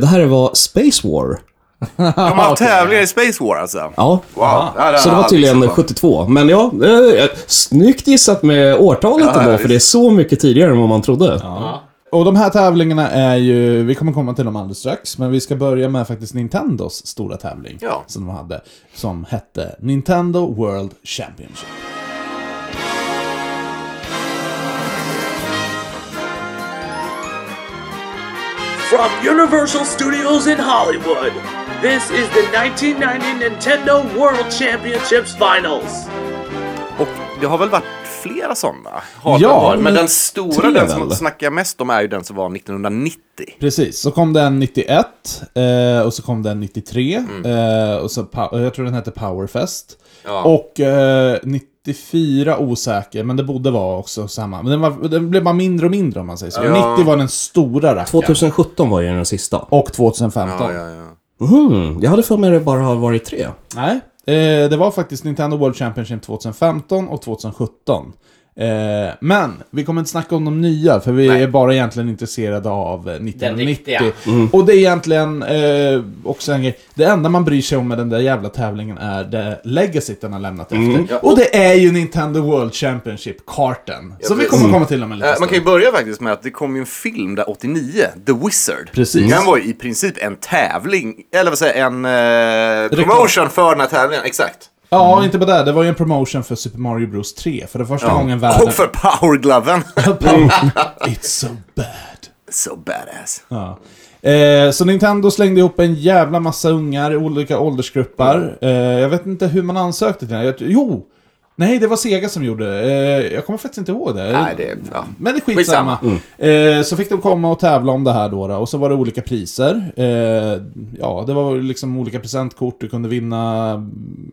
S6: det här var Space War.
S5: De har haft tävlingar i Space War alltså.
S6: Ja.
S5: Wow. Ja, har
S6: Så det
S5: jag
S6: var
S5: aldrig
S6: tydligen
S5: sett på.
S6: 72. Men ja, eh, snyggt gissat med årtalet
S5: Ja,
S6: ändå,
S5: ja,
S6: för det är så mycket tidigare än vad man trodde.
S3: Och de här tävlingarna är ju, vi kommer komma till dem alldeles strax, men vi ska börja med faktiskt Nintendos stora tävling
S5: Ja.
S3: som de hade, som hette Nintendo World Championship.
S2: From Universal Studios in Hollywood, this is the 1990 Nintendo World Championships Finals.
S5: Och det har väl varit flera sådana hardware.
S3: Ja,
S5: men,
S3: men
S5: den stora,
S3: tre
S5: den som
S3: väl?
S5: man snackar mest om, är ju den som var 1990.
S3: Precis, så kom den 91 eh, och så kom den 93 eh, och så, pa- jag tror den hette Powerfest.
S5: Mm. Ja.
S3: Och eh, 94 osäker, men det borde vara också samma. Men den, var, den blev bara mindre och mindre om man säger så. 90 var den stora rackaren.
S6: 2017 var ju den sista.
S3: Och 2015.
S5: Ja, ja, ja.
S6: Mhm, jag hade för mig det bara har varit tre.
S3: Nej, eh, det var faktiskt Nintendo World Championship 2015 och 2017. Eh, men vi kommer inte snacka om de nya, för vi är bara egentligen intresserade av eh, 1990.
S4: riktiga.
S5: Mm.
S3: Och det är egentligen eh, också en grej. Det enda man bryr sig om med den där jävla tävlingen är det legacyt den har lämnat
S5: Mm.
S3: efter. Och det är ju Nintendo World Championship-karten. som vi
S5: precis.
S3: kommer komma till om en liten
S5: Eh, Man
S3: stund.
S5: kan ju börja faktiskt med att det kom ju en film där 89, The Wizard.
S3: Precis.
S5: Den var ju i princip en tävling, eller vad säger jag, en eh,
S3: Reklam.
S5: promotion för den här tävlingen. Exakt.
S3: Ja,
S5: Mm.
S3: inte bara det. Det var ju en promotion för Super Mario Bros 3. För det första gången världen...
S5: Och för Mm. powergloven.
S3: It's so bad.
S5: so badass.
S3: Ja. Eh, så Nintendo slängde ihop en jävla massa ungar i olika åldersgrupper. Eh, jag vet inte hur man ansökte till den. här. Jag, jo! Nej, det var Sega som gjorde eh, Jag kommer faktiskt inte ihåg det.
S5: Nej, det Mm. är... Ja.
S3: Men det är skitsamma. Eh, så fick de komma och tävla om det här då. då och så var det olika priser. Eh, ja, det var liksom olika presentkort du kunde vinna.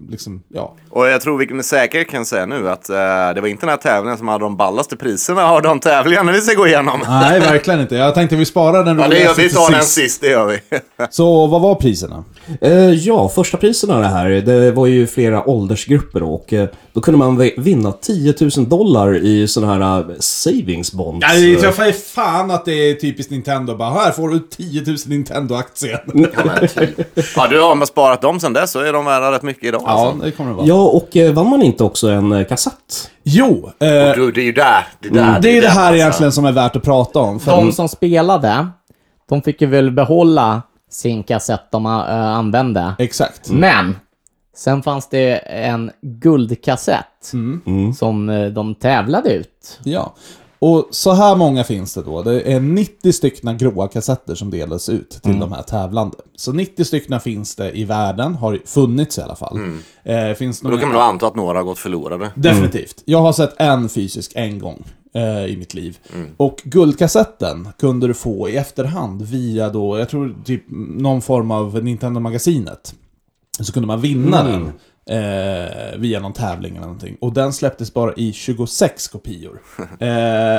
S3: Liksom, ja.
S5: Och jag tror vi med säkerhet kan säga nu att eh, det var inte den här tävlingen som hade de ballaste priserna av de tävlingarna vi ska gå igenom.
S3: Nej, verkligen inte. Jag tänkte vi sparar den
S5: Ja, det gör,
S3: roligaste
S5: vi
S3: till
S5: tar den sist, det gör vi.
S3: Så vad var priserna?
S6: Eh, ja, första priserna det här, det var ju flera åldersgrupper och eh, då kunde man vi- vinna 10 000 dollar i sådana här eh, savings bonds.
S5: Alltså-
S3: Ja, det träffar ju Alltså, fan att det är typiskt Nintendo. Bara, här får du 10 000 Nintendo-aktier.
S5: ja, du har man sparat dem sen dess så är de värda rätt mycket idag.
S3: Ja,
S5: Alltså.
S3: det kommer det vara.
S6: Ja, och eh, vann man inte också en eh, kassett?
S3: Jo, eh, det
S5: Du, det är ju där. Det är, där,
S3: är ju det här
S5: alltså.
S3: egentligen som är värt att prata om. För
S4: De som spelade, de fick ju väl behålla sin kassett de eh,
S3: Mm.
S4: använde.
S3: Exakt.
S4: Men! Sen fanns det en guldkassett som eh, de tävlade ut.
S3: Ja. Och så här många finns det då. Det är 90 stycken gråa kassetter som delas ut till
S5: Mm.
S3: de här tävlande. Så 90 stycken finns det i världen, har funnits i alla fall. Eh, finns
S5: Mm. Då
S3: några...
S5: kan man nog anta att några har gått förlorade.
S3: Definitivt. Jag har sett en fysisk en gång eh, i mitt liv. Och guldkassetten kunde du få i efterhand via då, jag tror typ någon form av Nintendo-magasinet. Så kunde man vinna den. Eh, via någon tävling eller någonting. Och den släpptes bara i 26 kopior. Eh,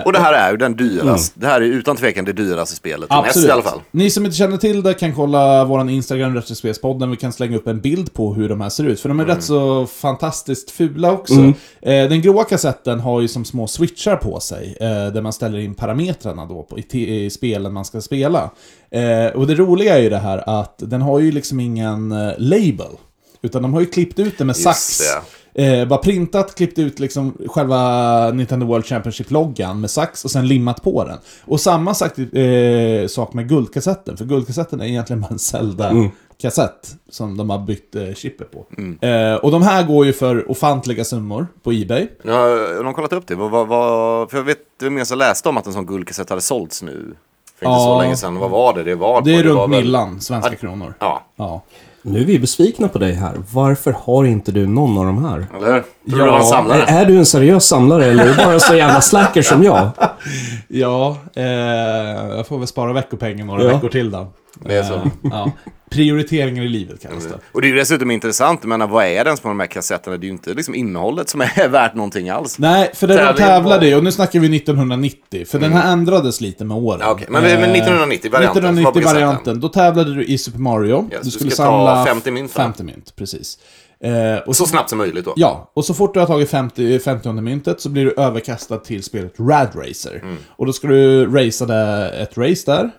S5: Och det här är ju den dyraste. Det här är utan tvekan det dyraste spelet. Mest
S3: Mm. Absolut.
S5: i alla fall.
S3: Ni som inte känner till det kan kolla vår Instagram, Retrospelspodden. Vi kan slänga upp en bild på hur de här ser ut. För de
S5: Mm.
S3: är rätt så fantastiskt fula också. Eh, den gråa kassetten har ju som små switchar på sig. Eh, där man ställer in parametrarna då på, i, te- i spelen man ska spela. Eh, och det roliga är ju det här att den har ju liksom ingen eh, label. Utan de har ju klippt ut det med sax. Eh, bara printat, klippt ut liksom själva Nintendo World Championship-loggan med sax och sen limmat på den. Och samma sak, eh, sak med guldkassetten, för guldkassetten är egentligen bara en Zelda-kassett som de har bytt eh, chippet på.
S5: Mm.
S3: Eh, och de här går ju för ofantliga summor på Ebay.
S5: Nu har har de kollat upp det. Vad, vad, vad, för jag vet, jag minns jag läste om att en sån guldkassett hade sålts nu. För inte
S3: Ja.
S5: så länge sedan. Vad var det? Det var
S3: Det är
S5: var
S3: runt
S5: väl-
S3: millan, svenska kronor.
S5: Ja,
S3: Ja.
S6: Nu är vi besvikna på dig här. Varför har inte du någon av de här?
S5: eller hur? Tror du det var en samlare?
S6: Är du en seriös samlare eller är du bara så jävla slacker som jag?
S3: Ja, eh, jag får väl spara veckopengen några veckor till då.
S5: Det är så. Mm.
S3: Eh, ja. Prioriteringar i livet kallas det.
S5: Och det är ju dessutom intressant, men vad är det ens på de här kassetterna? Det är ju inte liksom innehållet som är värt någonting alls.
S3: Nej, för det de
S5: Tävlingen Mm.
S3: tävlade i, och nu snackar vi 1990, för den här ändrades lite med åren.
S5: Ja, okej. Men vi- men 1990-varianten, som var på
S3: 1990-varianten, då tävlade du i Super Mario.
S5: Yes,
S3: du
S5: du
S3: skulle
S5: ska ta
S3: samla
S5: 50 mynt, va?
S3: 50 mynt, precis. Eh, och
S5: Så snabbt som möjligt då.
S3: Ja, och så fort du har tagit 50, 50 myntet så blir du överkastad till spelet Rad Racer.
S5: Mm.
S3: Och då ska du racea där, ett race där.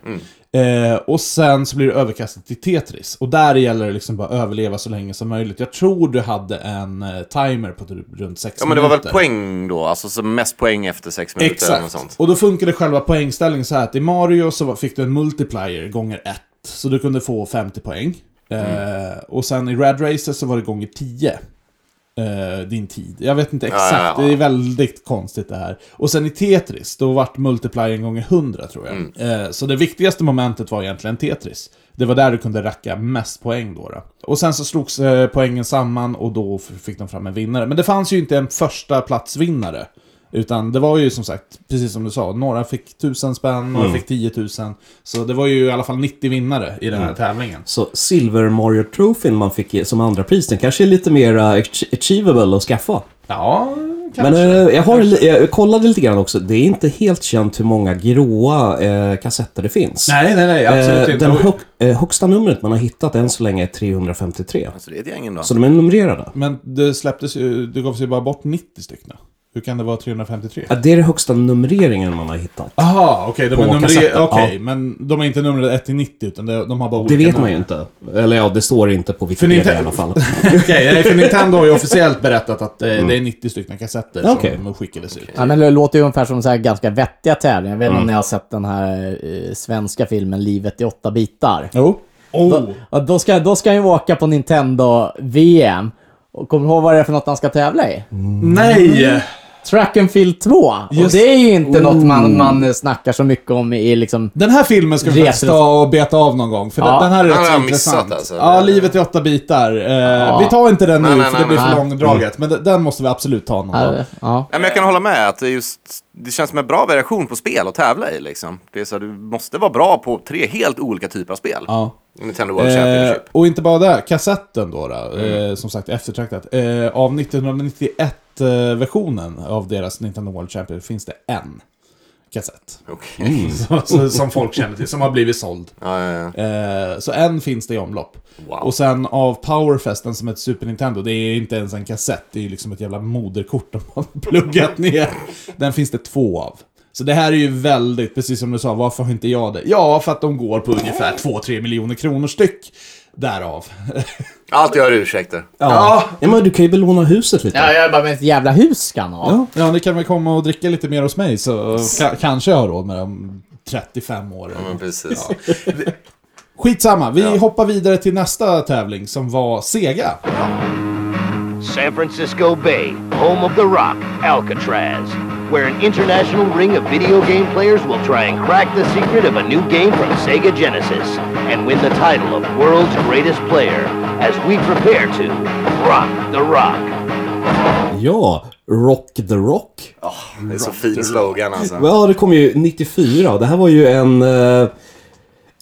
S3: Eh, och sen så blir du överkastad till Tetris. Och där gäller det liksom bara överleva så länge som möjligt. Jag tror du hade en eh, timer på typ runt 6
S5: Ja, men det var väl
S3: minuter.
S5: poäng då? Alltså så mest poäng efter sex minuter eller något sånt.
S3: Exakt. Och då funkade själva poängställningen så här att i Mario så var- fick du en multiplier gånger 1. Så du kunde få 50 poäng.
S5: Mm.
S3: Eh, och sen i Red Racer så var det gånger 10. eh, din tid. Jag vet inte exakt,
S5: ja, ja.
S3: det är väldigt konstigt det här. Och sen i Tetris, då vart multipliern gånger 100 tror jag.
S5: Mm.
S3: Eh, så det viktigaste momentet var egentligen Tetris. Det var där du kunde racka mest poäng då. då. Och sen så slogs eh, poängen samman och då f- fick de fram en vinnare. Men det fanns ju inte en första platsvinnare Utan det var ju som sagt, precis som du sa, några fick tusen spänn, några
S5: Mm.
S3: fick 10 000. Så det var ju i alla fall 90 vinnare i den
S5: Mm.
S3: här tävlingen.
S6: Så Silver Mario Trophyn man fick ge som andra pris, den kanske är lite mer eh, ach- achievable att skaffa.
S3: Ja, kanske.
S6: Men eh, jag, har, en li- jag kollade lite grann också. Det är inte helt känt hur många gråa eh, kassetter det finns.
S3: nej, typ- nej, nej, absolut
S6: Eh,
S3: inte.
S6: den hög, eh, högsta numret man har hittat än så länge är 353.
S5: Alltså det är ett gäng ändå.
S6: Så de är numrerade.
S3: Men det släpptes ju, det gavs ju bara bort 90 stycken. Hur kan det vara 353?
S6: Ja, det är den högsta numreringen man har hittat.
S3: Aha, okej,
S6: På
S3: de är
S6: kassetten,
S3: numre- okej,
S6: ja.
S3: men de är inte numrerade 1 till 90, utan det, de har bara olika
S6: Det vet man ju
S3: nummer.
S6: inte. Eller ja, det står inte på
S3: För
S6: Wikipedia
S3: Nintendo-
S6: i alla fall.
S3: Okej, nej, för Nintendo har ju officiellt berättat att det, det är 90 stycken kassetter
S6: Okej.
S3: som skickades ut.
S4: Ja, men det låter ju ungefär som så här ganska vettiga tävlingar. Jag vet inte om ni har sett den här eh, svenska filmen Livet i åtta bitar.
S3: Jo. Oh.
S4: Ja, då, ska, då ska han ju åka på Nintendo-VM. Och kommer du ihåg vad det är för något han ska tävla i?
S3: Nej!
S4: Track and Field 2. Och
S3: Just-
S4: det är ju inte något man, man snackar så mycket om i liksom...
S3: Den här filmen ska vi
S4: Retro-
S3: faktiskt ta och beta av någon gång, för
S4: Ja.
S3: den- den här är
S5: Den har
S3: rätt så
S5: jag
S3: intressant.
S5: missat, alltså.
S3: Ja, Livet i åtta bitar. Eh, Vi tar inte den nu,
S5: Nej, nej,
S3: för det blir
S5: nej,
S3: för
S4: nej.
S3: långdraget. Men den- den måste vi absolut ta någon gång.
S4: Ja.
S5: Ja, men
S6: Eh.
S5: jag kan hålla med att det, är just, det känns som en bra variation på spel att tävla i. Liksom. Det är så, här, du måste vara bra på tre helt olika typer av spel.
S3: Ja.
S5: Nintendo World
S3: Eh,
S5: Championship. Mm.
S3: och inte bara det, kassetten då, då eh, som sagt eftertraktat. Eh, av 1991-versionen av deras Nintendo World Champion finns det en kassett.
S6: Eh.
S5: Okej.
S3: Som- som- som folk känner till, som har blivit såld.
S5: Ja, ja, ja.
S3: Eh, så en finns det i omlopp.
S5: Wow.
S3: Och sen av Powerfesten som är ett Super Nintendo, det är inte ens en kassett, det är ju liksom ett jävla moderkort de har pluggat ner. Den finns det två av. Så det här är ju väldigt, precis som du sa, varför har inte jag det? Ja, för att de går på ungefär 2-3 miljoner kronor styck. Därav.
S5: Allt jag har ursäkter.
S6: Ja. ja, men du kan ju belåna huset lite.
S4: ja, jag bara, men ett jävla hus ska han ha.
S6: Ja.
S3: Ja, ni kan väl komma och dricka lite mer hos mig så ka- kanske jag har råd med det om 35 år.
S5: Ja, men precis.
S3: Skitsamma, vi hoppar vidare till nästa tävling som var Sega.
S7: San Francisco Bay, home of The Rock, Alcatraz, where an international ring of video game players will try and crack the secret of a new game from Sega Genesis and win the title of World's Greatest Player as we prepare to rock the rock.
S6: Ja, Rock the Rock.
S5: Det är så fin slogan alltså.
S6: Ja, det kom ju 94. Det här var ju en... Eh,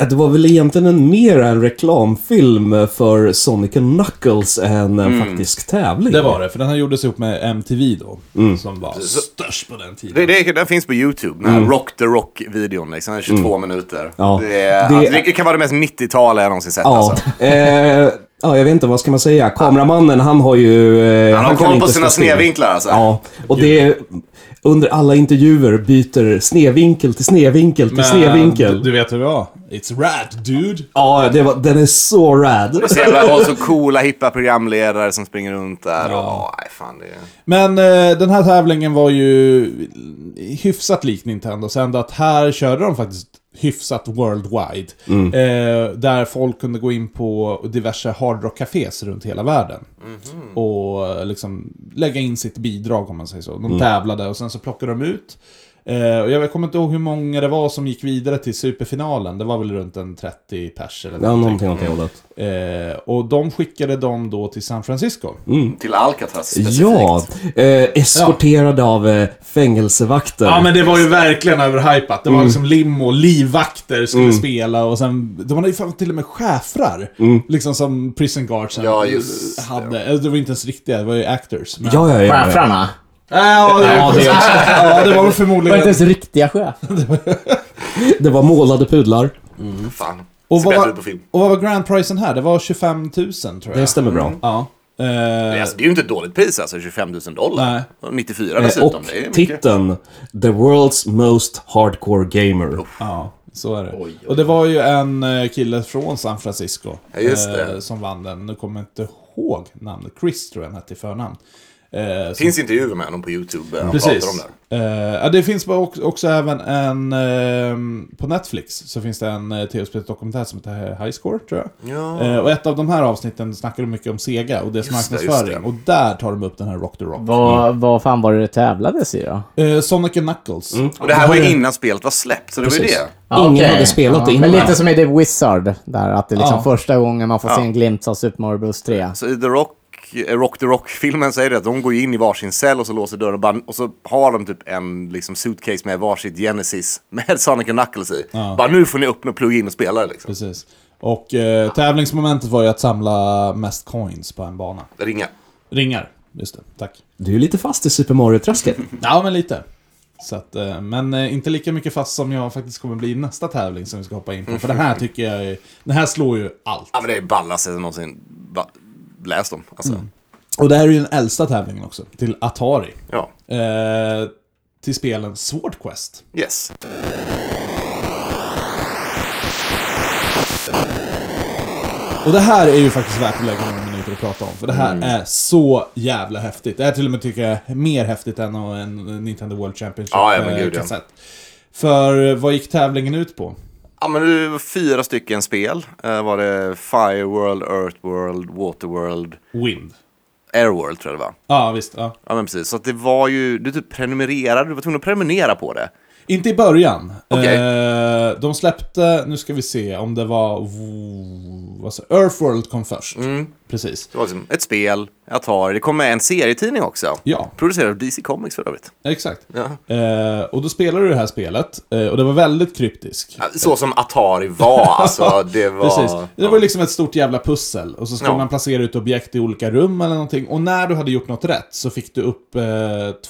S6: det var väl egentligen en, mer en reklamfilm för Sonic and Knuckles än en faktisk tävling.
S3: Mm. Det var det, för den här gjordes ihop med MTV då. Som var störst på den tiden.
S5: Mm. Det, det, den finns på YouTube, den här Rock the Rock-videon. Liksom, den är 22 minuter.
S6: Mm. Ja.
S5: Det, är,
S6: Det-
S5: alltså, det kan vara det mest 90-tal jag någonsin sett.
S6: Ja,
S5: Alltså.
S6: eh, ja, jag vet inte, vad ska man säga? Kameramannen, han har ju... Eh,
S5: Han har
S6: kan
S5: koll på
S6: inte
S5: sina
S6: stå still.
S5: snedvinklar alltså.
S6: Ja, och det... Under alla intervjuer byter snedvinkel till snedvinkel till snedvinkel.
S3: Du, du vet hur det var? It's rad dude.
S6: Ja, det var, den är så rad.
S5: Så jävla, och så coola, hippa programledare som springer runt där. Ja. Och, nej, fan, det är...
S3: Men eh, den här tävlingen var ju hyfsat lik Nintendo. Sen att här körde de faktiskt hyfsat worldwide.
S6: Mm.
S3: Eh, där folk kunde gå in på diverse hardrock-cafés runt hela världen.
S6: Mhm.
S3: Och eh, liksom lägga in sitt bidrag om man säger så. De
S6: Mm.
S3: tävlade och sen så plockade de ut. Eh, och jag kommer inte ihåg hur många det var som gick vidare till superfinalen. Det var väl runt en 30 pers eller
S6: Ja, någonting åt det hållet.
S3: Eh, och de skickade dem då till San Francisco.
S5: Till Alcatraz specifikt.
S6: Ja, eh, eskorterad av eh, fängelsevakter.
S3: Ja men det var ju verkligen överhypat. Det var liksom limo, livvakter skulle spela och sen... De hade ju fan till och med schäfrar. Liksom som prison guards
S5: Ja, just det.
S3: hade. Eller Det var inte ens riktiga, det var ju actors. Men...
S6: ja, ja, ja, ja.
S4: Cheferna.
S3: Äh, ja, det, ja, det, var väl
S4: Det var inte
S3: förmodligen...
S4: ens riktiga chefer.
S6: Det var målade pudlar.
S5: Fan.
S3: Och
S5: Ser
S3: vad,
S5: bättre
S3: var,
S5: ut på film.
S3: och vad var grand prisen här? Det var 25 000 tror
S6: Det
S3: jag.
S6: stämmer bra.
S3: Ja. Eh,
S5: Det är, alltså, det är ju inte ett dåligt pris alltså, 25 000 dollar.
S3: Nej.
S5: Och 94
S6: Eh,
S5: dessutom.
S6: Och
S5: det är mycket.
S6: titeln The World's Most Hardcore Gamer.
S3: Ja, så är det. Och det var ju en eh, kille från San Francisco
S5: Ja, just det.
S3: eh, som vann den. Nu kommer jag inte ihåg namnet. Chris tror jag han hette i förnamn. Eh,
S5: Det finns intervjuer med honom på YouTube. eh, Han pratar om
S3: Precis.
S5: det.
S3: Eh, ja, det finns bara också, också även en... Eh, på Netflix så finns det en eh, tv-spelsdokumentär som heter High Score, tror jag.
S5: Ja.
S3: Eh, och ett av de här avsnitten snackar de mycket om Sega och deras
S5: Just det, just
S3: marknadsföring.
S5: det.
S3: Och där tar de upp den här Rock the Rock.
S4: Vad, vad fan var det det tävlades i då?
S3: Eh, Sonic and Knuckles.
S5: Och det här var ju innan spelet var släppt, så det var ju
S6: Precis.
S5: det.
S6: Ingen
S4: Okej.
S6: hade spelat det
S4: Men
S6: innan.
S4: lite som i The Wizard, där att det är liksom
S3: Ja.
S4: första gången man får
S5: Ja.
S4: se en glimt av Super Mario Bros 3.
S5: Så i The Rock eh, Rock the Rock-filmen säger det att de går ju in i varsin cell och så låser dörren och, bara, och så har de typ en liksom, suitcase med varsitt Genesis med Sonic och Knuckles i. Bara nu får ni öppna och plugga in och spela liksom.
S3: Precis. Och eh, tävlingsmomentet var ju att samla mest coins på en bana.
S5: Ringa.
S3: Ringar. Just det, tack.
S6: Du är lite fast i Super Mario-träsket.
S4: Mm.
S3: Ja, men lite. Så att, eh, men eh, inte lika mycket fast som jag faktiskt kommer bli i nästa tävling som vi ska hoppa in på. För den här tycker jag är, Den här slår ju allt.
S5: Ja men det är ballaste jag någonsin ba- läst om. Alltså.
S3: Mm. Och det här är ju den äldsta tävlingen också, till Atari.
S5: Ja.
S3: Eh, till spelen Sword Quest.
S5: Yes.
S3: Och det här är ju faktiskt värt att lägga några minuter och prata om, för det här
S5: Mm.
S3: är så jävla häftigt. Det här till och med tycker jag är mer häftigt än en Nintendo World Championship
S5: Ja, ja, men
S3: eh,
S5: gud, ja.
S3: kassett. För eh, vad gick tävlingen ut på?
S5: Ja men det var fyra stycken spel. Eh, var det Fire World, Earth World, Water World,
S3: Wind.
S5: Air World tror jag det var.
S3: Ja, visst. Ja.
S5: Ja men precis, så att det var ju, du typ prenumererade, du var tvungen att prenumerera på det.
S3: Inte i början.
S5: Okej.
S3: Eh, de släppte, nu ska vi se, om det var... v- Vad sa, Earthworld kom först.
S5: Mm.
S3: Precis.
S5: Det var liksom ett spel, Atari, det kom med en serietidning också.
S3: Ja.
S5: Producerad av DC Comics för övrigt.
S3: Exakt.
S5: Ja.
S3: Eh, och då spelade du det här spelet, eh, och det var väldigt kryptisk.
S5: Ja, Så som Atari var, alltså det var...
S3: Precis. Det var ju liksom ett stort jävla pussel. Och så skulle
S5: Ja.
S3: man placera ut objekt i olika rum eller någonting. Och när du hade gjort något rätt så fick du upp eh,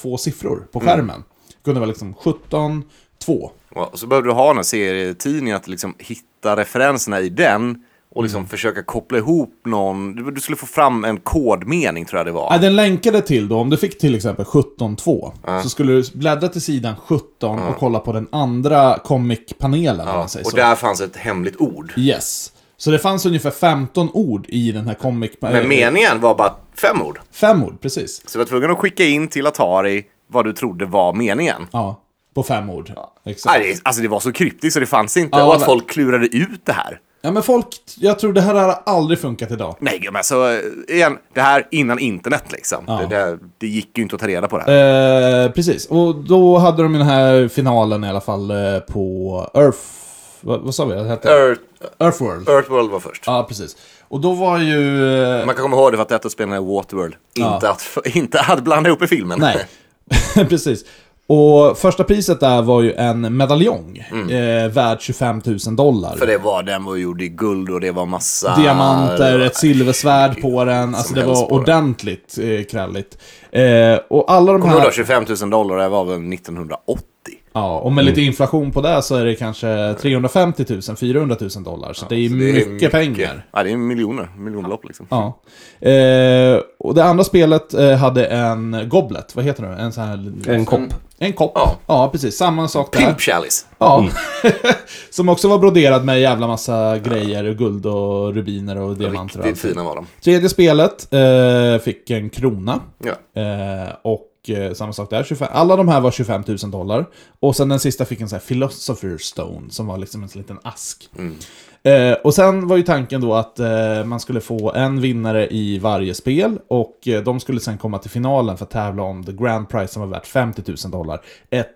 S3: två siffror
S5: Mm.
S3: på skärmen. Det kunde vara liksom 17, 2.
S5: Och så behövde du ha den här serietidningen att liksom hitta referenserna i den och liksom försöka koppla ihop någon, du, du skulle få fram en kodmening tror jag det var.
S3: Ja, den länkade till då, om du fick till exempel 17.2 så skulle du bläddra till sidan 17 och kolla på den andra comic-panelen. om man säger
S5: och
S3: så.
S5: där fanns ett hemligt ord.
S3: Yes. Så det fanns ungefär 15 ord i den här comic...
S5: Men
S3: eh,
S5: meningen var bara fem ord.
S3: Fem ord, precis.
S5: Så du var tvungen att skicka in till Atari vad du trodde var meningen.
S3: Ja, på fem ord. Exakt.
S5: Nej, det, alltså det var så kryptiskt så det fanns inte.
S3: Ja,
S5: och att
S3: men-
S5: folk klurade ut det här.
S3: Ja, men folk... Jag tror det här hade aldrig funkat idag.
S5: Nej, men alltså eh, igen, det här innan internet liksom. Det, det, det gick ju inte att ta reda på det här.
S3: Eh, precis, och då hade de den här finalen i alla fall eh, på Earth... Vad, vad sa vi? Det hette?
S5: Earth,
S3: Earthworld.
S5: Earthworld var först.
S3: Eh. Ja, precis. Och då var ju... eh,
S5: Man kan komma ihåg det för att detta spelade Waterworld. Inte, att, inte att blanda ihop i filmen.
S3: Nej, precis. Och första priset där var ju en medaljong. Eh, värd 25 000 dollar.
S5: Mm. För det var, den var gjord i guld och det var massa...
S3: Diamanter, ett silversvärd på den. Alltså
S5: Som
S3: det
S5: helst
S3: var
S5: på den.
S3: ordentligt eh, kralligt. Eh, och alla de
S5: Kommer du ihåg då, 25
S3: här...
S5: 000 dollar, det var väl 1980?
S3: Ja, och
S5: Mm.
S3: med lite inflation på det så är det kanske 350 000, 400 000 dollar. Så det är ju
S5: Det är
S3: mycket, pengar.
S5: Ja, det är miljoner. Miljonbelopp liksom.
S3: Ja. Eh, och det andra spelet eh, hade en goblet, vad heter det? En sån här...
S6: En
S4: Mm.
S6: kopp.
S3: En kopp. Ja,
S5: Ja.
S3: precis. Samma sak där.
S5: Pimp Chalice.
S3: Ja. som också var broderad med jävla massa grejer, och guld och rubiner och diamanter och
S5: Riktigt
S3: allt.
S5: fina var de.
S3: Tredje spelet eh, fick en krona.
S5: Ja.
S3: Eh, och eh, samma sak där, 25, alla de här var 25 000 dollar. Och sen den sista fick en sån här Philosopher Stone, som var liksom en sån liten ask.
S5: Mm.
S3: Eh, och sen var ju tanken då att eh, man skulle få en vinnare i varje spel och eh, de skulle sen komma till finalen för att tävla om the grand prize som var värt 50 000 dollar. Ett,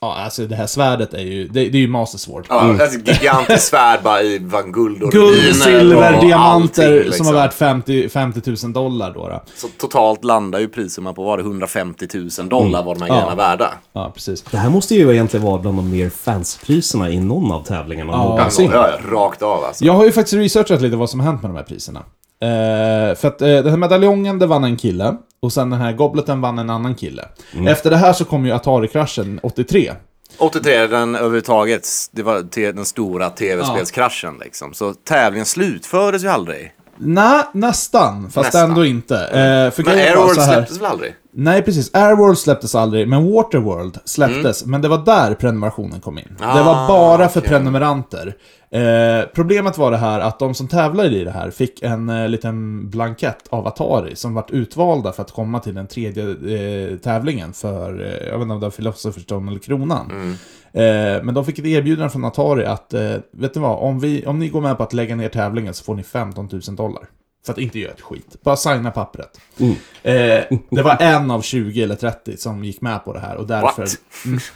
S3: ja, alltså det här svärdet är ju, det, det är ju Master Sword.
S5: Ja, alltså, gigantiskt svärd bara i van guld och
S3: Mm. Guld,
S5: rubiner
S3: silver,
S5: och
S3: diamanter
S5: allting, liksom.
S3: som var värt 50, 50 000 dollar då. då.
S5: Så totalt landar ju priserna på, var det 150 000 dollar var de här grejerna värda?
S3: Mm. Ja, precis.
S6: Det här måste ju egentligen vara bland de mer fanspriserna i någon av tävlingarna.
S5: Ja,
S6: Ja.
S3: synd.
S5: Alltså, ja, rakt av alltså.
S3: Jag har ju faktiskt researchat lite vad som har hänt med de här priserna. Eh, för att eh, den här medaljongen, det vann en kille. Och sen den här gobleten vann en annan kille.
S5: Mm.
S3: Efter det här så kom ju Atari-kraschen 83.
S5: 83, den överhuvudtaget, det var te- den stora tv-spelskraschen liksom. Så tävlingen slutfördes ju aldrig.
S3: Nej, nästan. Fast
S5: Nästan.
S3: ändå inte. Eh, för
S5: Men
S3: grejen var så
S5: Airworld
S3: här-
S5: släpptes väl aldrig?
S3: Nej, precis. Airworld släpptes aldrig, men Waterworld släpptes. Men det var där prenumerationen kom in. det var bara för prenumeranter. Eh, problemet var det här att de som tävlade i det här fick en eh, liten blankett av Atari som vart utvalda för att komma till den tredje eh, tävlingen för, eh, jag vet inte om det var Philosopher's Stone eller Kronan. Eh, men de fick ett erbjudande från Atari att, eh, vet ni vad, om, vi, om ni går med på att lägga ner tävlingen så får ni 15 000 dollar. För att inte göra ett skit. Bara signa pappret.
S5: Mm.
S3: Eh, det var en av 20 eller 30 som gick med på det här och därför...
S5: What?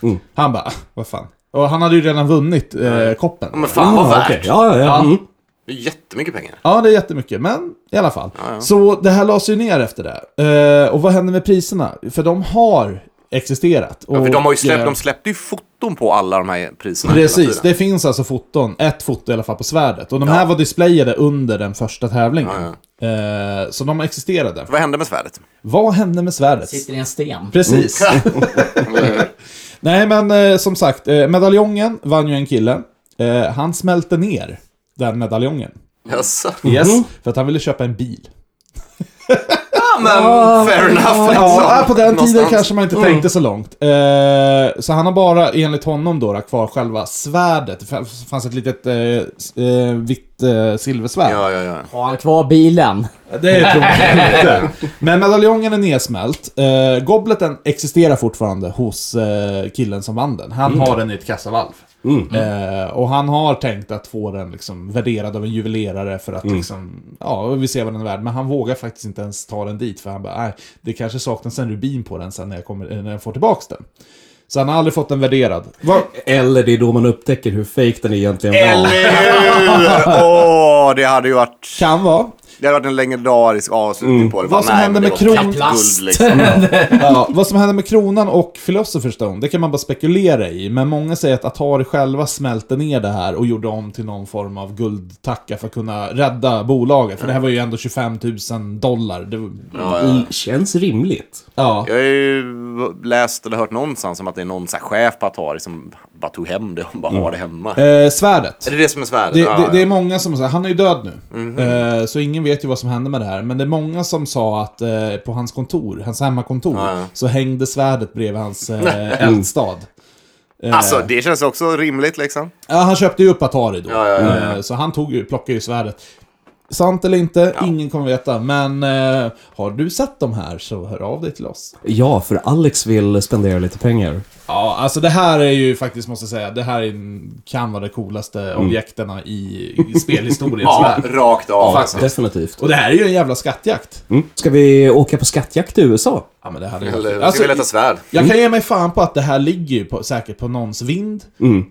S3: Mm. Han bara, "Ah, vad fan. Och han hade ju redan vunnit eh, koppen.
S5: Men fan vad värt!
S6: Ja, ja, ja. Mm.
S5: Det är jättemycket pengar.
S3: Ja, det är jättemycket, men i alla fall.
S5: ja.
S3: Så det här lades ju ner efter det. Eh, och vad hände med priserna? För de har existerat.
S5: Ja, för de, har ju släppt,
S3: eh,
S5: de släppte ju foton på alla de här priserna hela
S3: Precis,
S5: tiden.
S3: det finns alltså foton, ett foto i alla fall på svärdet. Och de här var displayade under den första tävlingen. Eh, så de existerade.
S5: Vad hände med svärdet?
S3: Vad hände med svärdet?
S4: Sitter i en sten.
S3: Precis.
S5: Mm.
S3: Nej, men eh, som sagt, eh, medaljongen vann ju en kille. Eh, han smälte ner den medaljongen.
S5: Jaså?
S3: Yes. För att han ville köpa en bil.
S5: Men fair enough liksom.
S3: Ja, på den tiden
S5: Någonstans.
S3: kanske man inte tänkte så långt. Eh, så han har bara, enligt honom då, kvar själva svärdet. Det fanns- fanns ett litet eh, s- eh, vitt eh, silversvärd.
S5: Ja, ja, ja.
S4: Har han kvar bilen?
S3: Det tror jag inte. Men medaljongen är nedsmält. Eh, gobleten existerar fortfarande hos eh, killen som vann den. Han har den i ett kassavalv. Eh, och han har tänkt att få den liksom värderad av en juvelerare för att liksom, ja, vi ser vad den är värd. Men han vågar faktiskt inte ens ta den dit för han bara, nej, det kanske saknas en rubin på den sen när jag, kommer, eh, när jag får tillbaks den. Så han har aldrig fått den värderad.
S6: Eller det är då man upptäcker hur fake den egentligen var.
S5: Åh, det hade ju varit...
S3: Kan vara.
S5: Det hade varit en legendarisk avslutning på det.
S3: Mm. Vad som
S5: nej,
S3: hände
S5: men
S3: med
S5: det var
S3: kron-
S5: Guld, liksom.
S3: Ja, vad som hände med kronan och Philosopher's Stone, det kan man bara spekulera i. Men många säger att Atari själva smälte ner det här och gjorde om till någon form av guldtacka för att kunna rädda bolaget. För det här var ju ändå 25 000 dollar. Det var,
S6: Mm, Känns rimligt.
S3: ja.
S5: Jag har ju läst eller hört någonstans om att det är någon så här chef på Atari som bara tog hem det och bara har det hemma.
S3: Eh, svärdet.
S5: Är det det som är svärdet?
S3: Det,
S5: Ja, Mhm.
S3: det, det är
S5: ja.
S3: många som säger, han är ju död nu. Eh, så ingen vet ju vad som hände med det här. Men det är många som sa att eh, på hans kontor, hans hemmakontor,
S5: Ja, ja.
S3: så hängde svärdet bredvid hans eh, eldstad.
S5: Alltså, det känns också rimligt liksom.
S3: Ja, han köpte ju upp Atari då.
S5: Ja, ja, ja,
S3: Eh, Så han tog ju, plockade ju svärdet. Sant eller inte, ingen kommer veta. Men eh, har du sett de här så hör av dig till oss.
S6: Ja, för Alex vill spendera lite pengar.
S3: Ja, alltså det här är ju faktiskt, måste jag säga, det här är, en- kan vara de coolaste objekterna i, i spelhistorien.
S5: Ja,
S3: tyvärr.
S5: rakt av.
S3: Faktiskt.
S6: Definitivt.
S3: Och det här är ju en jävla skattjakt.
S6: Mm. Ska vi åka på skattjakt till USA?
S3: Ja, men det hade ju
S5: Eller,
S3: varit-
S5: jag
S3: alltså,
S5: skulle vilja ta svärd.
S3: Jag kan ge mig fan på att det här ligger ju på, säkert på någons vind.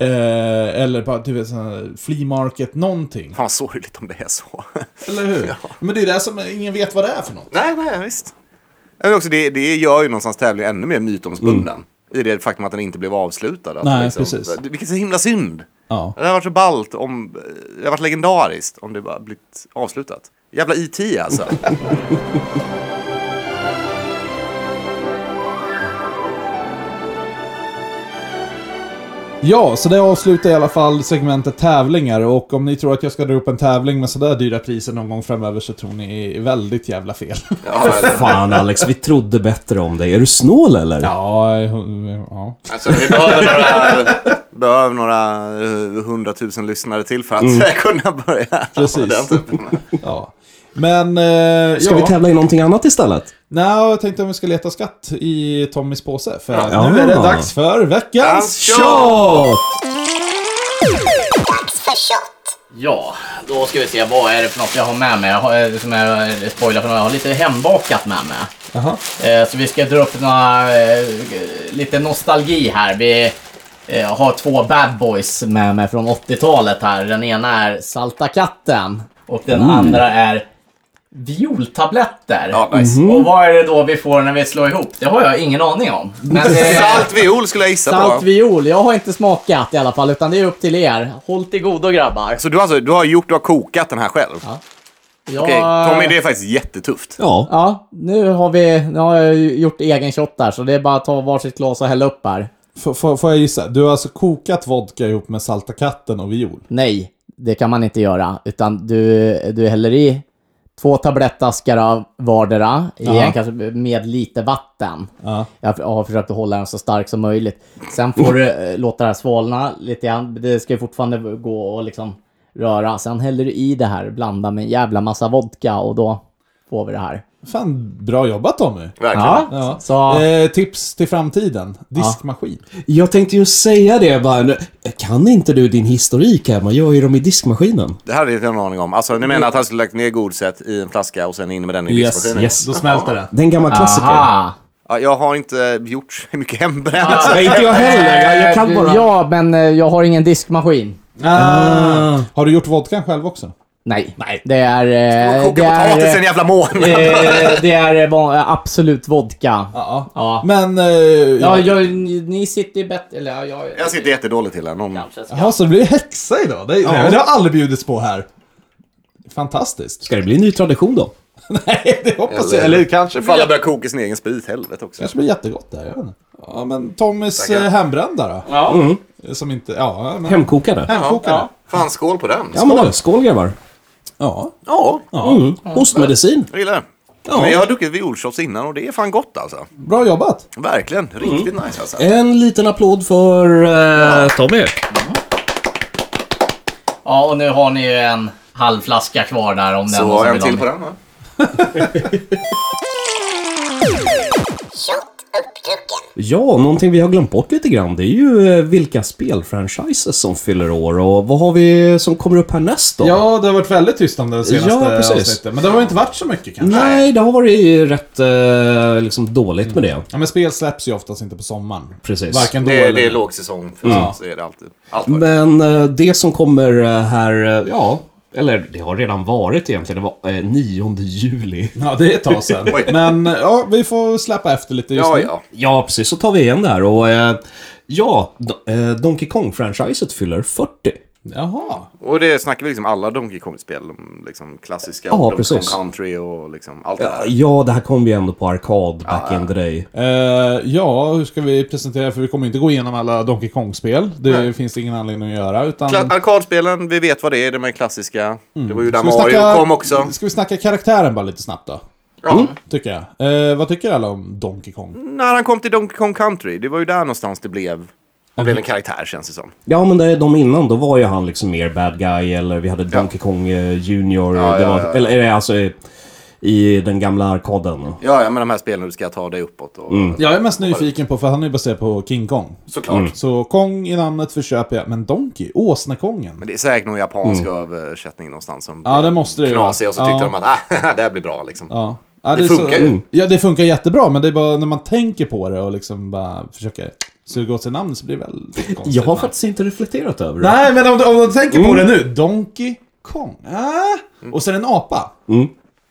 S3: Eh, eller på typ, sån här flea market någonting.
S5: Fan, vad sorgligt om det är så.
S3: Eller hur? Men det är det som ingen vet vad det är för något.
S5: nej, nej, visst. Men också, det, det gör ju någonstans tävlingen ännu mer mytomspunnen. I det faktum att den inte blev avslutad. Att
S3: Nej, precis.
S5: Det- Vilket är så himla synd.
S3: Ja.
S5: Det hade varit så ballt om... Det hade varit legendariskt om det bara blivit avslutat. Jävla IT alltså.
S3: Ja, så det avslutar i alla fall segmentet tävlingar och om ni tror att jag ska dra upp en tävling med sådär dyra priser någon gång framöver så tror ni är väldigt jävla fel.
S5: ja, eller-
S6: Fan Alex, vi trodde bättre om dig. Är du snål eller?
S3: Ja, ja.
S5: Alltså, vi behöver några, behöver några eh, hundratusen lyssnare till för att kunna börja.
S3: Precis.
S5: Den typen.
S3: ja. Men, eh,
S6: Ska
S3: ja.
S6: vi tävla i någonting annat istället?
S3: Nej, jag tänkte om vi ska leta skatt i Tommys påse. För
S6: Ja.
S3: nu är det dags för veckans...
S6: Tja!
S4: Ja, då ska vi se. Vad är det för något jag har med mig? Jag har, eh, som jag eh, spoilar för några. Jag har lite hembakat med mig.
S3: Jaha.
S4: Eh, Så vi ska dra upp några, eh, lite nostalgi här. Vi eh, har två bad boys med mig från 80-talet här. Den ena är Salta katten och den andra är Violtabletter.
S5: Ja, nice.
S4: Och vad är det då vi får när vi slår ihop? Det har jag ingen aning om. Men, eh,
S5: Salt viol skulle jag gissa
S4: Salt
S5: på.
S4: viol, jag har inte smakat i alla fall utan det är upp till er. Håll till godo grabbar.
S5: Så du, alltså, du har gjort, du har kokat den här själv?
S4: Jag...
S5: Okej, Tommy, det är faktiskt jättetufft.
S6: Ja.
S4: Ja, nu har vi, nu har jag ju gjort egen shot där så det är bara att ta varsitt glas och hälla upp här.
S3: F- f- Får jag gissa? Du har alltså kokat vodka ihop med Salta katten och viol?
S4: Nej, det kan man inte göra. Utan du, du häller i två tablettaskar av vardera, i en kanske med lite vatten.
S3: Ja.
S4: Jag har försökt att hålla den så stark som möjligt. Sen får du eh, låta det här svalna lite grann. Det ska ju fortfarande gå och liksom röra. Sen häller du i det här, blanda med en jävla massa vodka och då får vi det här.
S3: Fan, bra jobbat Tommy.
S5: Verkligen.
S4: Ja,
S3: Ja.
S4: så...
S3: Eh, tips till framtiden. Diskmaskin.
S6: Jag tänkte ju säga det bara. nu- Kan inte du din historik här? Man gör ju dem i diskmaskinen.
S5: Det här hade jag inte en aning om. Alltså, ni menar att han skulle lagt ner godiset i en flaska och sen in med den i diskmaskinen?
S6: yes.
S3: Då smälter det.
S6: Det är en gammal klassiker.
S4: Aha.
S5: Ja, jag har inte gjort så mycket hembränt.
S6: Nej, inte jag heller. Jag, jag kan bara...
S4: eh, Ja, men eh, jag har ingen diskmaskin.
S3: Ah. Har du gjort vodkan själv också?
S4: Nej. Det är... eh,
S5: Koka
S4: det är,
S5: potatis i
S4: eh,
S5: en jävla mån.
S4: eh, det är eh, van- absolut vodka.
S3: Ja.
S4: Ja.
S3: Men... Eh,
S4: Ja,
S3: ja.
S4: jag, ni sitter ju bättre... Eller ja, jag...
S5: Jag sitter jättedåligt till här. Någon...
S4: Kanske ska-
S3: Jaha, så det blir häxa idag? Det, det har aldrig bjudits på här. Fantastiskt.
S6: Ska det bli en ny tradition då?
S3: Nej, det hoppas jag.
S5: Eller-
S3: Alltså, Eller kanske...
S5: Ifall jag börjar koka sin egen sprit, helvete också.
S3: kanske blir jättegott där, jag vet inte. Ja, men Tommys eh, hembrända då?
S4: Ja.
S3: Eh, Som inte... Ja, men...
S6: Hemkokade?
S3: Hemkokade. Ja.
S5: Fan, skål på den.
S6: Ja men då, skål grabbar.
S3: Ja.
S5: Ja,
S6: Mm. Ostmedicin.
S5: jag gillar det. Men jag har druckit violshots innan och det är fan gott alltså.
S3: Bra jobbat.
S5: Verkligen, riktigt nice alltså.
S6: En liten applåd för eh, Tommy.
S4: Ja, och nu har ni ju en halv flaska kvar där om den
S5: Så en till på den va?
S6: Ja, någonting vi har glömt bort lite grann det är ju eh, vilka spelfranchises som fyller år och vad har vi som kommer upp härnäst då?
S3: Ja, det har varit väldigt tyst om det senaste
S6: Ja, precis.
S3: avsnittet. Men det har inte varit så mycket kanske.
S6: Nej, det har varit rätt eh, liksom dåligt med det.
S3: Ja, men spel släpps ju oftast inte på sommaren.
S6: Precis.
S3: Varken då
S5: Det är,
S3: eller...
S5: det är lågsäsong för sånt, så är det alltid. Allt var det.
S6: Men eh, det som kommer eh, här, eh, ja, eller det har redan varit egentligen, det var eh, 9 juli.
S3: Ja, det är ett tag sedan.
S5: Oj.
S3: men ja, vi får släppa efter lite just
S5: Ja,
S3: nu.
S5: ja.
S6: Ja, precis, så tar vi igen där och eh, ja, do- eh, Donkey Kong-franchiset fyller 40.
S3: Jaha.
S5: Och det snackar vi liksom alla Donkey Kong-spel. de Liksom klassiska
S6: Ja,
S5: Donkey Kong
S6: precis.
S5: Country och liksom allt det där.
S6: Ja, det här kom ju ändå på arkad back in the day.
S3: Eh, ja, hur ska vi presentera? För vi kommer inte gå igenom alla Donkey Kong-spel. Det finns det ingen anledning att göra. Utan...
S5: Kla- Arkadspelen, vi vet vad det är, de är klassiska. Det var ju där
S3: Mm. Ska vi
S5: Mario
S3: snacka-
S5: kom också.
S3: Ska vi snacka karaktären bara lite snabbt då? Mm,
S5: Ja. Mm.
S3: Tycker jag. Eh, vad tycker alla om Donkey Kong?
S5: När han kom till Donkey Kong Country, det var ju där någonstans det blev... Han blev en karaktär känns det som.
S6: Ja, men det, de innan, då var ju han liksom mer bad guy eller vi hade Donkey Kong eh, Junior. det var, Eller är det alltså i, i den gamla arkaden?
S5: Ja, ja, men de här spelen du ska ta dig uppåt och...
S3: Jag är mest nyfiken på, för han är ju baserad på King Kong.
S5: Såklart.
S3: Så Kong i namnet förköper jag, men Donkey? Åsnekongen?
S5: Men det är säkert någon japansk översättning någonstans som
S3: Mm. Ja, det måste det ju
S5: knasig och så
S3: vara.
S5: tyckte de att ah, det här blir bra liksom.
S3: Ja. Ja,
S5: Det
S3: är
S5: funkar
S3: så,
S4: Mm.
S5: ju.
S3: Ja, det funkar jättebra, men det är bara när man tänker på det och liksom bara försöker suga åt sig namn så blir det väldigt konstigt.
S6: Jag har faktiskt inte reflekterat över det.
S3: Nej, men om du, om du tänker
S4: Mm.
S3: på det nu. Donkey Kong. Ah.
S5: Mm.
S3: Och sen en apa.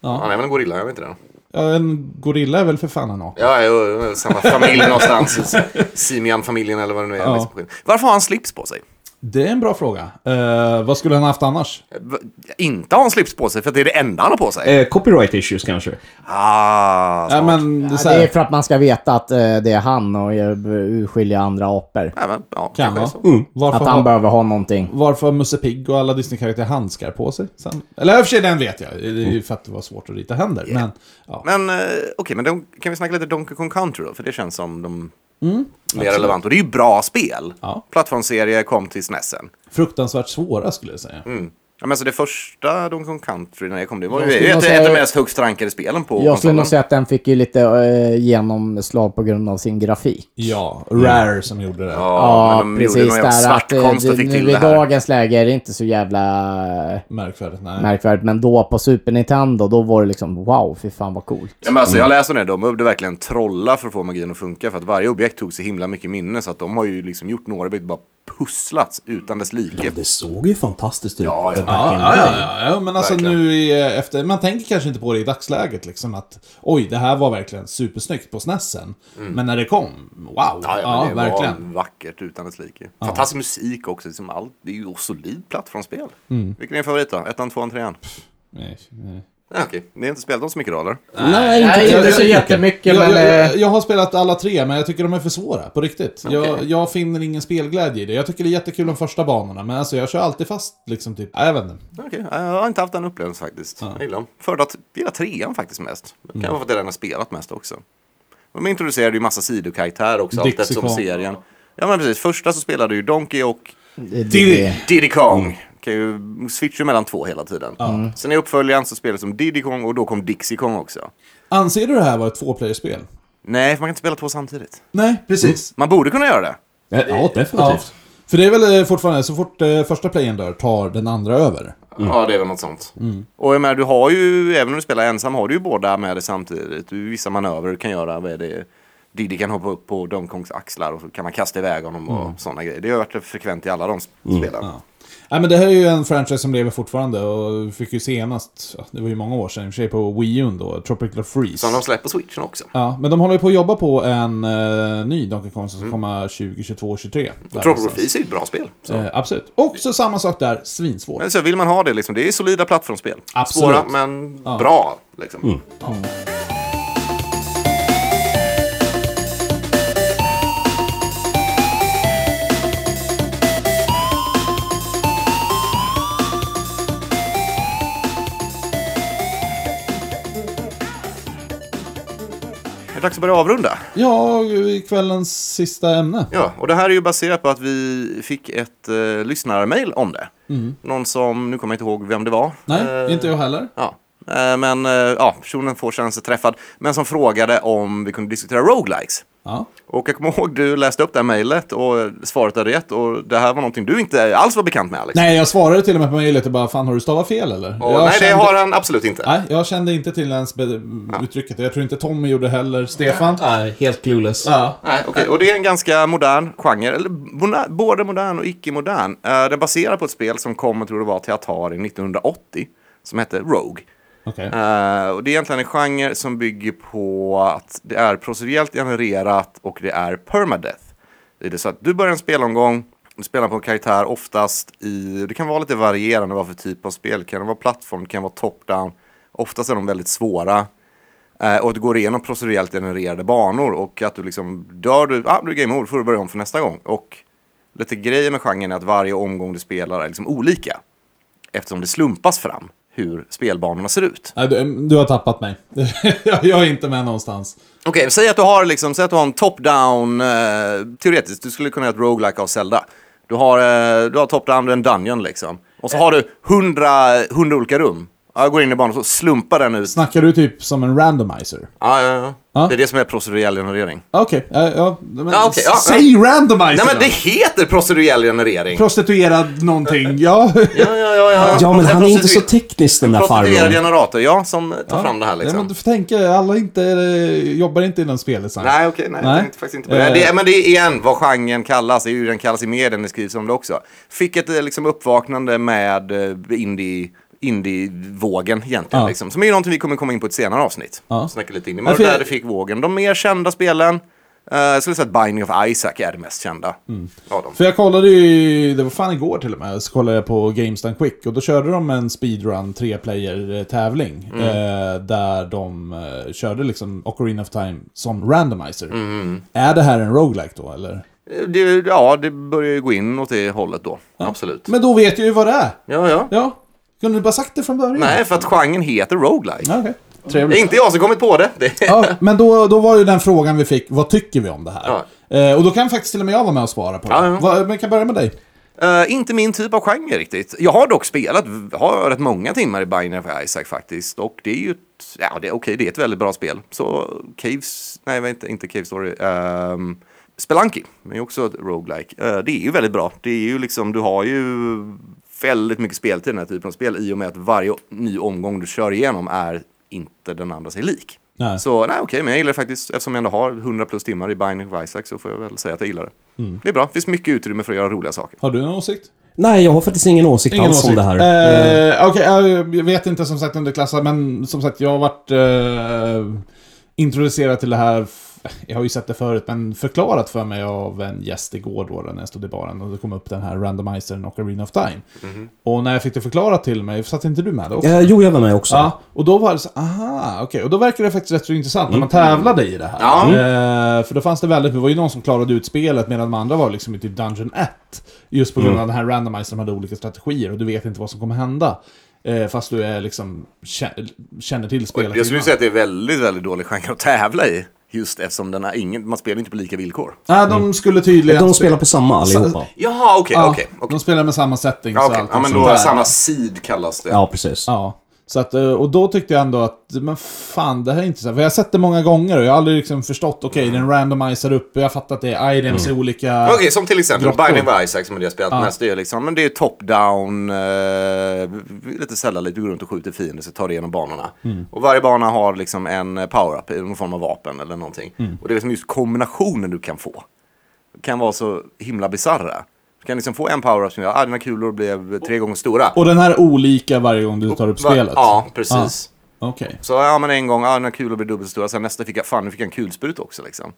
S5: Han är väl en gorilla, jag vet inte det.
S3: Ja, en gorilla är väl för fan en apa.
S5: Ja, jo, jo, samma familj någonstans. Simian-familjen eller vad det nu är. liksom. Varför har han slips på sig?
S3: Det är en bra fråga. Eh, vad skulle han haft annars?
S5: Va- Inte har han slips på sig för att det är det enda han har på sig.
S6: Eh, copyright issues kanske.
S5: Ah,
S3: Ja,
S5: smart.
S3: men det är, så
S4: Det är
S3: här,
S4: för att man ska veta att eh, det är han och eh, urskilja andra apor.
S5: Nej, men, ja,
S3: kan
S5: kanske
S3: vara. Mm.
S5: så.
S3: Varför,
S4: Mm. Att han
S3: har,
S4: behöver ha någonting.
S3: varför har Musse Pigg och alla Disney-karaktärer handskar på sig? Sen? Eller i och för sig, den vet jag. Det är
S4: Mm.
S3: ju för att det var svårt att rita händer. Men, ja.
S5: Men eh, okej, men de, kan vi snacka lite Donkey Kong Country då? För det känns som de mer relevant. Och det är ju bra spel.
S3: Ja.
S5: Plattformsserie kom till SNESen.
S3: Fruktansvärt svåra skulle jag säga.
S5: Ja, men alltså det första Donkey Kong Country när jag kom, det var ju
S4: skulle
S5: ett, ett,
S4: nog säga-
S5: av de mest högst rankade spelen på
S4: Jag skulle
S5: konsolen.
S4: nog säga att den fick ju lite eh, genomslag på grund av sin grafik.
S3: Ja, Rare som gjorde det.
S5: Ja, men de gjorde någon jävla
S4: att, eh,
S5: svartkonst och fick
S4: nu
S5: till
S4: I
S5: det här.
S4: dagens läge är det inte så jävla eh,
S3: Märkvärdigt. Nej.
S4: märkvärdigt, men då på Super Nintendo, då var det liksom wow, fy fan vad coolt.
S5: Ja, men alltså, jag läser det, de behövde verkligen trolla för att få magin att funka. För att varje objekt tog så himla mycket minne. Så att de har ju liksom gjort några objekt bara pusslats utan dess like.
S6: Det såg ju fantastiskt ut.
S5: Ja, ja.
S6: back in the
S3: Ja,
S6: day.
S3: ja, ja, ja, men alltså
S5: Verkligen.
S3: nu i, eh, efter, man tänker kanske inte på det i dagsläget liksom att oj, det här var verkligen supersnyggt på snessen. Men när det kom, wow, ja,
S5: Ja, ja, men det
S3: verkligen.
S5: var vackert utan dess like. Fantastisk musik också. Liksom allt, det är ju solid plattformsspel.
S3: Mm.
S5: Vilken är din favorit då? Ettan, tvåan, trean?
S3: Nej, nej.
S5: Ja, okej, ni har inte spelat dem så mycket då eller?
S6: Nej, inte,
S4: Nej, inte
S6: inte
S4: så jättemycket,
S3: Jag,
S4: men...
S3: jag,
S4: eh,
S3: jag, jag har spelat alla tre, men jag tycker de är för svåra, på riktigt. Jag, jag finner ingen spelglädje i det. Jag tycker det är jättekul de första banorna, men alltså jag kör alltid fast liksom typ, nej, jag vet inte.
S5: Okej, jag har inte haft den upplevelsen faktiskt. Jag gillar dem. Föredrar t- gillar trean faktiskt mest. Det
S3: Mm.
S5: kan vara för att det är den har spelat mest också. De introducerade ju massa sidokaraktärer också allt
S3: Dixie
S5: eftersom
S3: Kong.
S5: serien. Ja men precis, första så spelade ju Donkey och
S4: det- det-
S5: Diddy Kong. Kan ju switcha mellan två hela tiden. Mm. Sen i uppföljaren så spelade som Diddy Kong och då kom Dixie Kong också.
S3: Anser du det här vara ett tvåplayerspel? Mm.
S5: Nej, för man kan inte spela två samtidigt.
S3: Nej, precis.
S5: Man borde kunna göra det.
S6: Ja,
S3: Ja.
S6: definitivt.
S3: För det är väl eh, fortfarande, så fort eh, första playen dör tar den andra över.
S5: Mm. Ja, det är väl något sånt. Och jag menar, du har ju, även om du spelar ensam, har du ju båda med dig samtidigt. Du, vissa manövrer du kan göra, vad är det? Diddy kan hoppa upp på Donkey Kongs axlar och så kan man kasta iväg honom och sådana grejer. Det har varit frekvent i alla de sp- spelen.
S3: Nej, men det här är ju en franchise som lever fortfarande och vi fick ju senast, ja, det var ju många år sedan i och för sig, på Wii U då, Tropical Freeze.
S5: Som de släpper på switchen också.
S3: Ja, men de håller ju på att jobba på en eh, ny Donkey Kong
S5: Mm.
S3: som ska komma 2022, 23.
S5: Och Tropical Freeze är ju ett bra spel. Så.
S3: Eh, absolut. Också samma sak där, svinsvårt.
S5: Men så vill man ha det liksom, det är solida plattformsspel.
S3: Absolut.
S5: Svåra men bra. Liksom. Det är dags att börja avrunda.
S3: Ja, kvällens sista ämne.
S5: Ja, och det här är ju baserat på att vi fick ett eh, lyssnarmail om det. Någon som, nu kommer jag inte ihåg vem det var.
S3: Nej,
S5: Eh,
S3: inte jag heller.
S5: Ja. Eh, Men eh, ja, personen får känna sig träffad. Men som frågade om vi kunde diskutera roguelikes.
S3: Ja.
S5: Och jag kommer ihåg du läste upp det här mejlet och eh, svaret hade rätt. Och det här var någonting du inte alls var bekant med Alex.
S3: Nej, jag svarade till och med på mejlet och bara fan har du stavat fel eller?
S5: och,
S3: jag
S5: nej
S3: kände,
S5: det har han absolut inte.
S3: Nej, jag kände inte till ens be- uttrycket. Jag tror inte Tommy gjorde heller. Stefan?
S6: Nej, eh, helt clueless.
S3: Ja.
S5: Nej, okej. Och det är en ganska modern genre, eller bona- både modern och icke-modern. Eh, Det baserar på ett spel som kom, jag tror det var, till Atari 1980, som hette Rogue.
S3: Okej.
S5: Eh, och det är egentligen en genre som bygger på att det är procedurellt genererat och det är permadeath. Det är det så att du börjar en spelomgång, du spelar på en karaktär oftast i, det kan vara lite varierande vad för typ av spel, det kan vara plattform, det kan vara top-down. Oftast är de väldigt svåra. Eh, och att du går igenom procedurellt genererade banor och att du liksom dör du, ah, du är game over, får du börja om för nästa gång. Och lite grejer med genren är att varje omgång du spelar är liksom olika. Eftersom det slumpas fram hur spelbanorna ser ut.
S3: Nej, du, du har tappat mig. jag jag är inte med någonstans.
S5: Okej, säg att du har liksom, säg att du har en top-down, eh, teoretiskt, du skulle kunna göra ett roguelike av Zelda. Du har, eh, du har top-down, du är en dungeon liksom. Och så har du hundra, hundra olika rum. Ja, Jag går in i banan och så slumpar den ut.
S3: Snackar du typ som en randomizer?
S5: Ja, ja, ja.
S3: Ja.
S5: Det är det som är procedurell generering.
S3: Okej, ja, ja, men
S5: Ja, okej, ja,
S3: Säg randomizer
S5: Nej men det
S3: då.
S5: heter procedurell generering.
S3: Prostituerad någonting, ja.
S5: ja, ja, ja, ja.
S6: Ja, men
S5: En
S6: han är inte så
S5: prostitu-
S6: teknisk den där
S5: Prostituerad
S6: farbrorn.
S5: generator, ja, som tar fram det här liksom.
S3: Nej, men du får tänka, alla inte, eh, jobbar inte inom speldesign.
S5: Nej, okej. nej,
S3: Nej.
S5: Jag tänkte faktiskt inte på det.
S3: Eh.
S5: det. är- Men det är igen vad genren kallas. Det är ju den kallas i medien, det skrivs om det också. Fick ett eh, liksom, uppvaknande med eh, indie indie-vågen egentligen.
S3: Ja.
S5: Liksom. Som är ju någonting vi kommer komma in på i ett senare avsnitt.
S3: Ja.
S5: Snacka lite indie.
S3: Ja,
S5: Men
S3: för jag-
S5: där det fick vågen. De mer kända spelen, eh, jag skulle säga att Binding of Isaac är det mest kända
S3: Mm.
S5: av dem.
S3: För jag kollade ju, det var fan igår till och med, så kollade jag på Games Done Quick och då körde de en speedrun tre-player-tävling.
S5: Mm.
S3: Eh, där de eh, körde liksom Ocarina of Time som randomizer.
S5: Mm,
S3: Är det här en roguelike då eller?
S5: Eh, Det, ja, det börjar ju gå in åt det hållet då. Absolut.
S3: Men då vet jag ju vad det är!
S5: Ja, ja.
S3: Ja, kunde du bara sagt det från början?
S5: Nej, för att genren heter roguelike.
S3: Ja, okej.
S5: Det är inte jag som kommit på det. det
S3: Ja, men då, då var ju den frågan vi fick, vad tycker vi om det här?
S5: Ja.
S3: Eh, och då kan faktiskt till och med jag vara med och svara på det.
S5: Ja, ja.
S3: Va, men jag kan börja med dig.
S5: Eh, inte min typ av genre riktigt. Jag har dock spelat, har rätt många timmar i Binding of Isaac faktiskt. Och det är ju ett, ja det är okej, det är ett väldigt bra spel. Så Caves, nej vänta, inte Cave Story. Um, Spelunky, men ju också ett roguelike. Eh, det är ju väldigt bra. Det är ju liksom, du har ju väldigt mycket speltid i den här typen av spel. I och med att varje ny omgång du kör igenom är inte den andra sig lik.
S3: Nej.
S5: Så nej okej, men jag gillar det faktiskt, eftersom jag ändå har 100 plus timmar i Binding of Isaac så får jag väl säga att jag gillar det. Det är bra, det finns mycket utrymme för att göra roliga saker.
S3: Har du någon åsikt?
S6: Nej, jag har faktiskt ingen åsikt alls om det här.
S3: Eh, Okej, eh, jag vet inte som sagt om det klassar, men som sagt jag har varit eh, introducerad till det här, f- jag har ju sett det förut, men förklarat för mig av en gäst igår då när jag stod i baren och det kom upp den här randomizern och Arena of Time. Och när jag fick det förklarat till mig, satt inte du med då?
S6: Eh, jo, jag var med också.
S3: Ja, och då var det så, aha, okej. Och då verkade det faktiskt rätt så intressant när man tävlade i det här.
S5: Mm. Ja. Mm.
S3: Eh, för då fanns det väldigt, det var ju någon som klarade ut spelet medan de andra var liksom i typ Dungeon 1. Just på grund
S5: Mm.
S3: av den här randomizern, de hade olika strategier och du vet inte vad som kommer hända. Eh, fast du är liksom, kä- känner till spelet.
S5: Jag skulle
S3: innan.
S5: säga att det är väldigt, väldigt dålig genre att tävla i. Just eftersom den är ingen, man spelar inte på lika villkor.
S3: Nej, de skulle tydligen...
S6: De spelar på samma allihopa.
S5: Jaha, Mm. okej,
S3: Ja,
S5: okej. okej.
S3: De spelar med samma setting.
S5: Ja,
S3: så
S5: okej.
S3: allt
S5: Ja, men
S3: sånt
S5: då
S3: där.
S5: samma seed kallas det.
S6: Ja, precis.
S3: Ja. Så att, eh, och då tyckte jag ändå att, men fan det här är intressant. För jag har sett det många gånger och jag har aldrig liksom förstått, okej den randomiserar upp, jag har fattat det, items är olika...
S5: Okej, som till exempel
S3: grottor.
S5: Binding of Isaac som är det jag spelat mest. Det är, liksom, men det är ju top-down, eh, lite sällan lite, du går runt och skjuter fiender så tar du igenom banorna.
S3: Mm.
S5: Och varje bana har liksom en eh, power-up, någon form av vapen eller någonting.
S3: Mm.
S5: Och det är liksom just kombinationen du kan få. kan vara så himla bizarra. Du kan liksom få en power-up som gör att ah, dina kulor blev tre gånger stora.
S3: Och den här är olika varje gång du tar upp
S5: Va-
S3: spelet?
S5: Ja, precis.
S3: Ah, Okej.
S5: Så ja, men en gång, ja, dina kulor blev dubbelt så stora. Sen nästa fick jag, fan nu fick jag en kulsprut också liksom.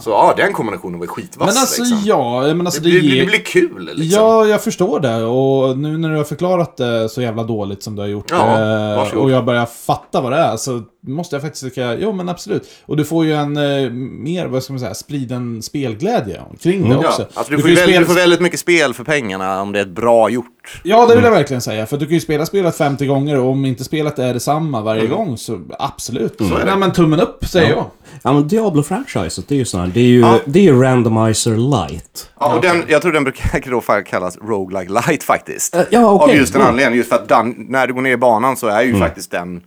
S5: Så ja, den kombinationen var
S3: Ah. Men
S5: skitvass
S3: alltså
S5: liksom.
S3: ja, men alltså
S5: Det,
S3: det,
S5: blir-
S3: ger...
S5: det blir kul liksom.
S3: Ja, jag förstår det. Och nu när du har förklarat det så jävla dåligt som du har gjort. eh,
S5: Ja, varsågod.
S3: och jag börjar fatta vad det är så måste jag faktiskt tycka, jo men absolut. Och du får ju en eh, mer, vad ska man säga, spriden spelglädje kring det också.
S5: Ja, alltså du, får ju
S3: spela-
S5: väldigt, du får väldigt mycket spel för pengarna om det är ett bra gjort.
S3: Ja, det vill
S5: Mm.
S3: jag verkligen säga. För du kan ju spela spelet 50 gånger och om inte spelet är detsamma varje
S5: Mm.
S3: gång så absolut. Så, nej men tummen upp säger jag.
S6: Ja, men Diablo-franchiset, det är ju sån här, det är ju, det är ju randomizer light.
S5: Ja, och den, jag tror den brukar då fan kallas roguelike light faktiskt.
S6: Eh, ja, okej.
S5: Av just den
S6: Ja.
S5: anledningen, just för att den, när du går ner i banan så är ju
S3: Mm.
S5: faktiskt den,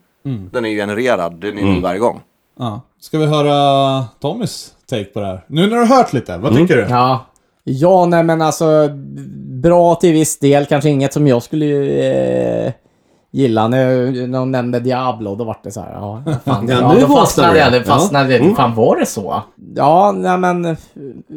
S5: den är ju genererad, den är ny varje gång.
S3: Ja. Ska vi höra Tommys take på det här? Nu när du har hört lite,
S5: Mm.
S3: vad tycker du?
S4: Ja. Ja, nej men alltså bra till viss del. Kanske inget som jag skulle eh, gilla. Nu, när de nämnde Diablo, då var det så här. Ja, fan,
S6: Ja,
S4: ja,
S6: nu
S4: då
S6: vaknar du.
S4: fastnade jag. Det
S6: Ja.
S4: fastnade. Fan, var det så? Ja, nej men eh,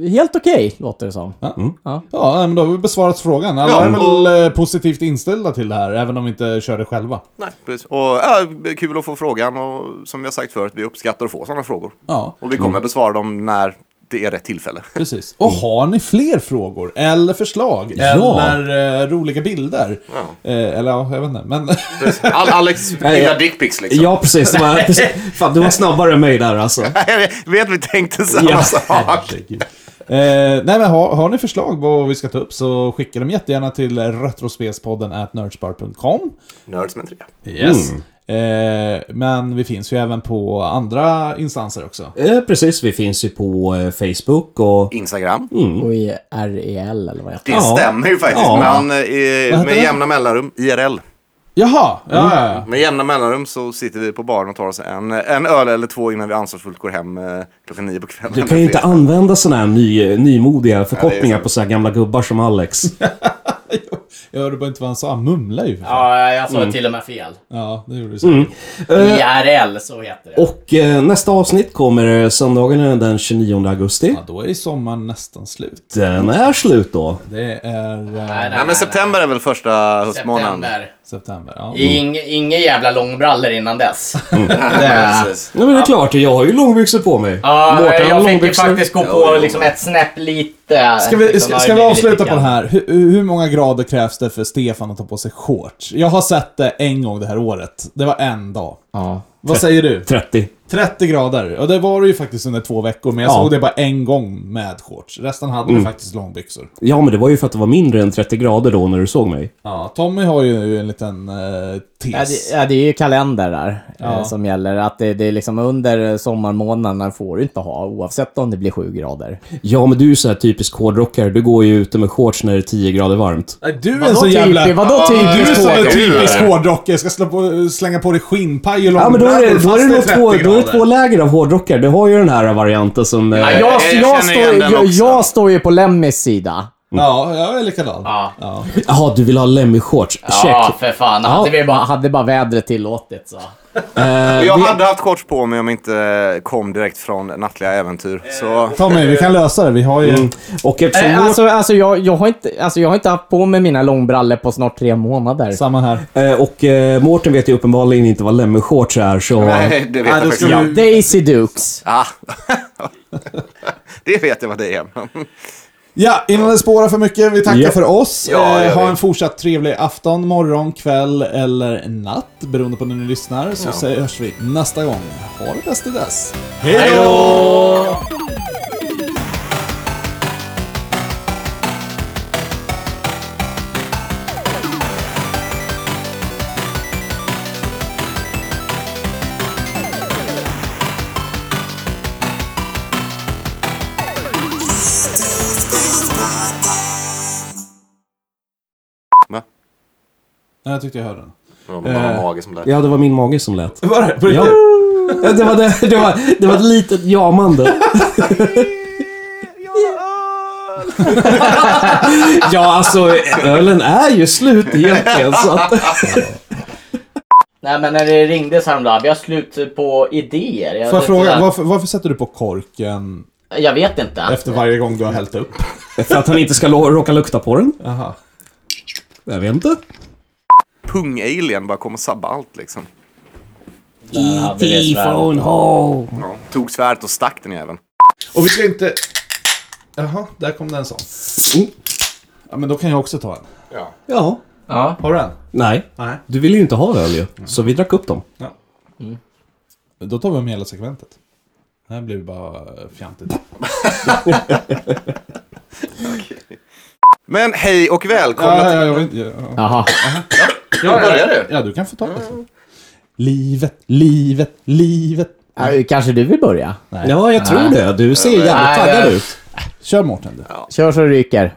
S4: helt okej låter det som.
S3: Mm. Ja, men då har vi besvarat frågan. Alla
S5: Ja,
S3: är väl
S5: och-
S3: eh, positivt inställda till det här, även om vi inte kör det själva.
S5: Nej, precis. Och ja, kul att få frågan och som jag sagt förut, vi uppskattar att få sådana frågor.
S3: Ja,
S5: Och vi kommer besvara dem när det är rätt tillfälle.
S3: precis. Och har ni fler frågor, eller förslag, eller eh, roliga bilder?
S5: Ja.
S3: Eh, eller ja, jag vet inte. Men
S5: All, Alex gillar dickpics liksom.
S6: Ja, precis. Det var, fan, du var snabbare än mig där alltså.
S5: Jag vet, vi tänkte samma
S6: Ja.
S5: sak.
S3: Eh, nej men har, har ni förslag på vad vi ska ta upp så skicka dem jättegärna till retrospelspodden at nerdspar.com.
S5: Nerds med en trea.
S3: Yes. Mm. Eh, men vi finns ju även på andra instanser också.
S6: Eh, precis, vi finns ju på eh, Facebook och...
S5: Instagram.
S4: Och i REL eller vad
S5: Det
S4: heter det?
S6: Mm. Ja.
S5: stämmer ju faktiskt,
S6: Ja.
S5: men eh, med
S3: det?
S5: jämna mellanrum, IRL.
S3: Jaha! Ja, ja, ja.
S5: Med jämna mellanrum så sitter vi på baren och tar oss en, en öl eller två innan vi ansvarsfullt går hem eh, klockan nio på kvällen.
S6: Du kan ju inte använda såna här ny, eh, nymodiga förkortningar på så här gamla gubbar som Alex.
S3: Jag hörde bara inte vad han sa, han mumlade ju. för fan.
S4: Ja, jag sa till och med fel.
S3: Ja, det gjorde du säkert.
S4: IRL, så heter det.
S6: Och eh, nästa avsnitt kommer eh, söndagen den 29 augusti.
S3: Ja, då är ju sommaren nästan slut.
S6: Den är slut då.
S3: Det är eh,
S5: Nej men september är väl första höstmånaden.
S3: september. Ja.
S4: Inga jävla långbrallor innan dess.
S3: Mm.
S6: Ja, men det är klart, jag har ju långbyxor på mig.
S4: Ja,
S6: Mårten har
S4: jag fick ju
S6: långbyxor.
S4: faktiskt gå på liksom ett snäpp lite.
S3: Ska vi,
S4: liksom,
S3: ska,
S4: har
S3: ska vi
S4: blivit lite
S3: avsluta på det
S4: grann.
S3: här? Hur, hur många grader krävs det för Stefan att ta på sig shorts? Jag har sett det en gång det här året. Det var en dag.
S4: Ja.
S3: Vad säger du?
S6: 30.
S3: 30 grader. Och det var det ju faktiskt under två veckor, men jag
S6: Ja.
S3: såg det bara en gång med shorts. Resten hade vi faktiskt långbyxor.
S6: Ja, men det var ju för att det var mindre än 30 grader då när du såg mig.
S3: Ja, Tommy har ju en liten eh,
S4: Ja,
S3: tes.
S4: det, ja, det är ju kalenderar eh,
S3: Ja.
S4: som gäller. Att det, det är liksom under sommarmånaderna får du inte ha oavsett om det blir sju grader.
S6: Ja, men du är ju så här typisk hårdrockare. Du går ju ute med shorts när det är 10 grader varmt.
S3: Nej, du är en
S4: Vadå
S3: sån jävla...
S4: typisk- vadå
S3: Du är
S4: typisk
S3: som en
S4: hårdrockare?
S3: typisk hårdrockare. Ska slå på, slänga på dig skinnpaj och
S6: Ja, men då är det, då är det, nog två, då är det två
S3: läger.
S6: läger av hårdrockare. Du har ju den här varianten som... eh,
S4: jag, jag,
S5: jag känner
S4: står,
S5: igen den
S4: jag,
S5: också.
S4: jag står ju på Lemmys sida.
S3: Ja, jag är likadan.
S6: Jaha, du vill ha Lemmy-shorts? Check.
S4: för fan. Hade, vi bara, hade bara vädret tillåtit så.
S5: Jag hade haft shorts på mig om jag inte eh, kom direkt från nattliga äventyr. Så
S3: Tommy, vi kan lösa det. Vi har ju...
S6: Mm. Och eftersom
S4: Eh,
S6: vår-
S4: Alltså, alltså, jag, jag har inte, alltså, jag har inte haft på mig mina långbrallor på snart tre månader.
S3: Samma här.
S6: Eh, Och eh, Mårten vet ju uppenbarligen inte vad lemmonshorts är, så...
S5: nej, det vet jag
S3: då
S5: faktiskt
S3: ska
S5: inte.
S4: Ja,
S3: du-
S4: Daisy Dukes.
S5: Ah. det vet jag vad det är. men-
S3: Ja, innan det spårar för mycket, vi tackar
S6: Ja.
S3: för oss.
S5: Ja,
S3: eh,
S5: gör
S3: ha
S5: vi.
S3: en fortsatt trevlig afton, morgon, kväll eller natt, beroende på när ni lyssnar. Så ja. hörs vi nästa gång. Ha det bäst till dess. Hej då!
S5: Va?
S3: Nej, jag tyckte jag hörde den.
S5: Det var bara
S3: Eh,
S5: en mage som lät.
S6: Ja, det var min mage som lät.
S3: Var det? På
S6: Ja.
S3: riktigt?
S6: Det var, det, det var, det var ett litet jamande. ja, alltså ölen är ju slut egentligen. Så att,
S4: Nej men när det ringdes häromdagen, vi har slut på idéer. Jag,
S3: Får jag fråga,
S4: jag,
S3: varför, varför sätter du på korken
S4: jag vet inte.
S3: efter varje gång du har hällt upp?
S6: för att han inte ska lo- råka lukta på den.
S3: Aha.
S6: Jag vet inte.
S5: Pung-alien bara kom och sabba allt liksom.
S4: Där hade vi det svärdet.
S6: home.
S5: Ja. Tog svärdet och stack den även.
S3: Och vi ska inte... Jaha, där kom det en sån.
S6: Mm.
S3: Ja, men då kan jag också ta en.
S6: Ja.
S4: Ja.
S3: Har du en?
S6: Nej.
S3: Nej.
S6: Du ville ju inte ha öl ju. Så vi drack upp dem.
S5: Mm.
S3: Då tar vi med hela segmentet. Det här blir bara fjantigt.
S5: Men hej och välkomna
S3: Ja,
S5: till...
S3: ja, jag vet, ja, ja.
S4: Jaha.
S5: Ja, börjar du?
S3: ja, du kan få ta det. Livet, livet, livet.
S4: Ja, Kanske du vill börja?
S6: Ja, jag tror det. Du ser jävligt
S4: Nej,
S6: taggad
S4: jag-
S6: ut.
S3: Kör Mårten du.
S4: Kör så det ryker.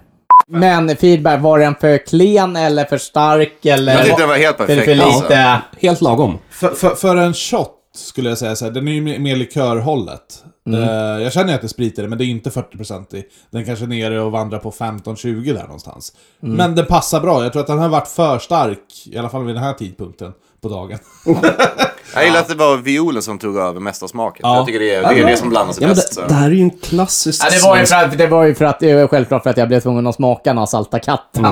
S4: Men feedback, var den för klen eller för stark eller?
S5: Jag tyckte den var helt
S4: Eller
S5: perfekt.
S4: för
S5: alltså.
S4: lite?
S6: Helt lagom.
S3: För, för, för en shot skulle jag säga så här, den är ju mer- mer likörhållet.
S5: Mm.
S3: Eh, jag känner ju att det spritar det, men det är inte 40% i. Den kanske är nere och vandrar på 15-20 där någonstans.
S5: Mm.
S3: Men den passar bra. Jag tror att den har varit för stark, i alla fall vid den här tidpunkten på dagen.
S5: Jag gillar att det var violen som tog över mest av smaken.
S3: Ja.
S5: Jag tycker det är det, är det som blandar sig
S6: Ja, men
S5: bäst.
S6: det,
S5: Så.
S6: det här är ju en klassisk
S4: Ja, det var ju
S6: svensk-
S4: för att, det var ju för att, det var självklart för att jag blev tvungen att smaka den här salta katten.
S6: ja,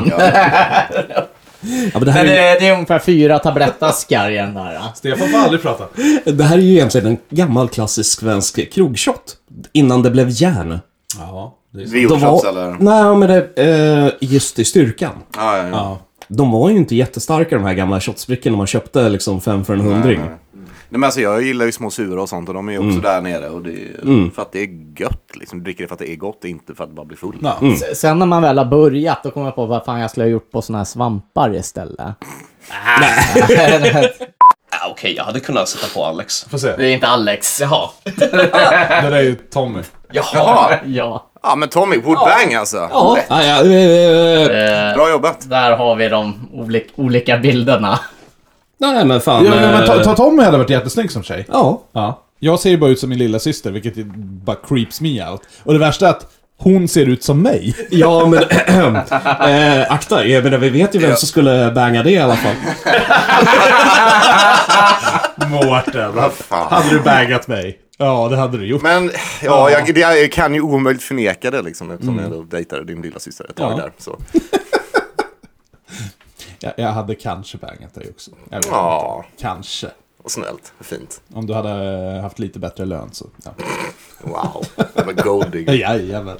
S6: men det, här
S4: Men eh,
S6: är,
S4: det, det är ungefär fyra tablettaskar i den där. ja.
S3: Stefan får aldrig prata.
S6: ju- det här är ju egentligen en gammal klassisk svensk krogshot. Innan det blev järn.
S3: Ja, det är så.
S6: De
S5: Violshots eller?
S6: var, nej, men det, eh, just i styrkan.
S5: Ja, ja, ja.
S3: Ja.
S6: De var ju inte jättestarka de här gamla shotsbrickorna man köpte liksom fem för en hundring.
S5: Nej, men alltså, jag gillar ju små sura och sånt och de är ju också där nere. Och det är, För att det är gött liksom. Du dricker det för att det är gott, inte för att bara bli full.
S3: Ja.
S4: S- Sen när man väl har börjat, då kommer jag på vad fan jag skulle ha gjort på såna här svampar istället. Nej.
S8: Ja, Okej, jag hade kunnat sätta på Alex.
S3: Får se.
S4: det är inte Alex. Jaha.
S3: Det där är ju Tommy.
S5: Jaha!
S4: Ja.
S5: Ja, men Tommy, woodbang alltså.
S6: Ja,
S5: Lätt.
S6: ja, ja, eh, eh,
S5: Bra jobbat.
S4: Där har vi de olika bilderna.
S6: nej men fan.
S3: Ja, men ta,
S6: eh,
S3: ta Tommy hade varit jättesnygg som tjej.
S6: ja.
S3: Ja. Jag ser ju bara ut som min lilla syster, vilket ju bara creeps me out. Och det värsta är att hon ser ut som mig.
S6: Ja, men eh, akta. Jag menar, vi vet ju vem som skulle banga det i alla fall.
S3: Mårten.
S5: Vad fan.
S3: Hade du bagat mig? Ja, det hade du gjort.
S5: Men ja, jag, det, jag kan ju omöjligt förneka det liksom eftersom jag då dejtade din lilla syster ett tag
S3: Ja.
S5: där. Så.
S3: Jag, jag hade kanske bagat dig också. Jag vet
S5: Ja.
S3: inte. Kanske.
S5: Och snällt, fint.
S3: Om du hade eh, haft lite bättre lön så... Ja.
S5: Wow, det var gold digger.
S3: Jajamän.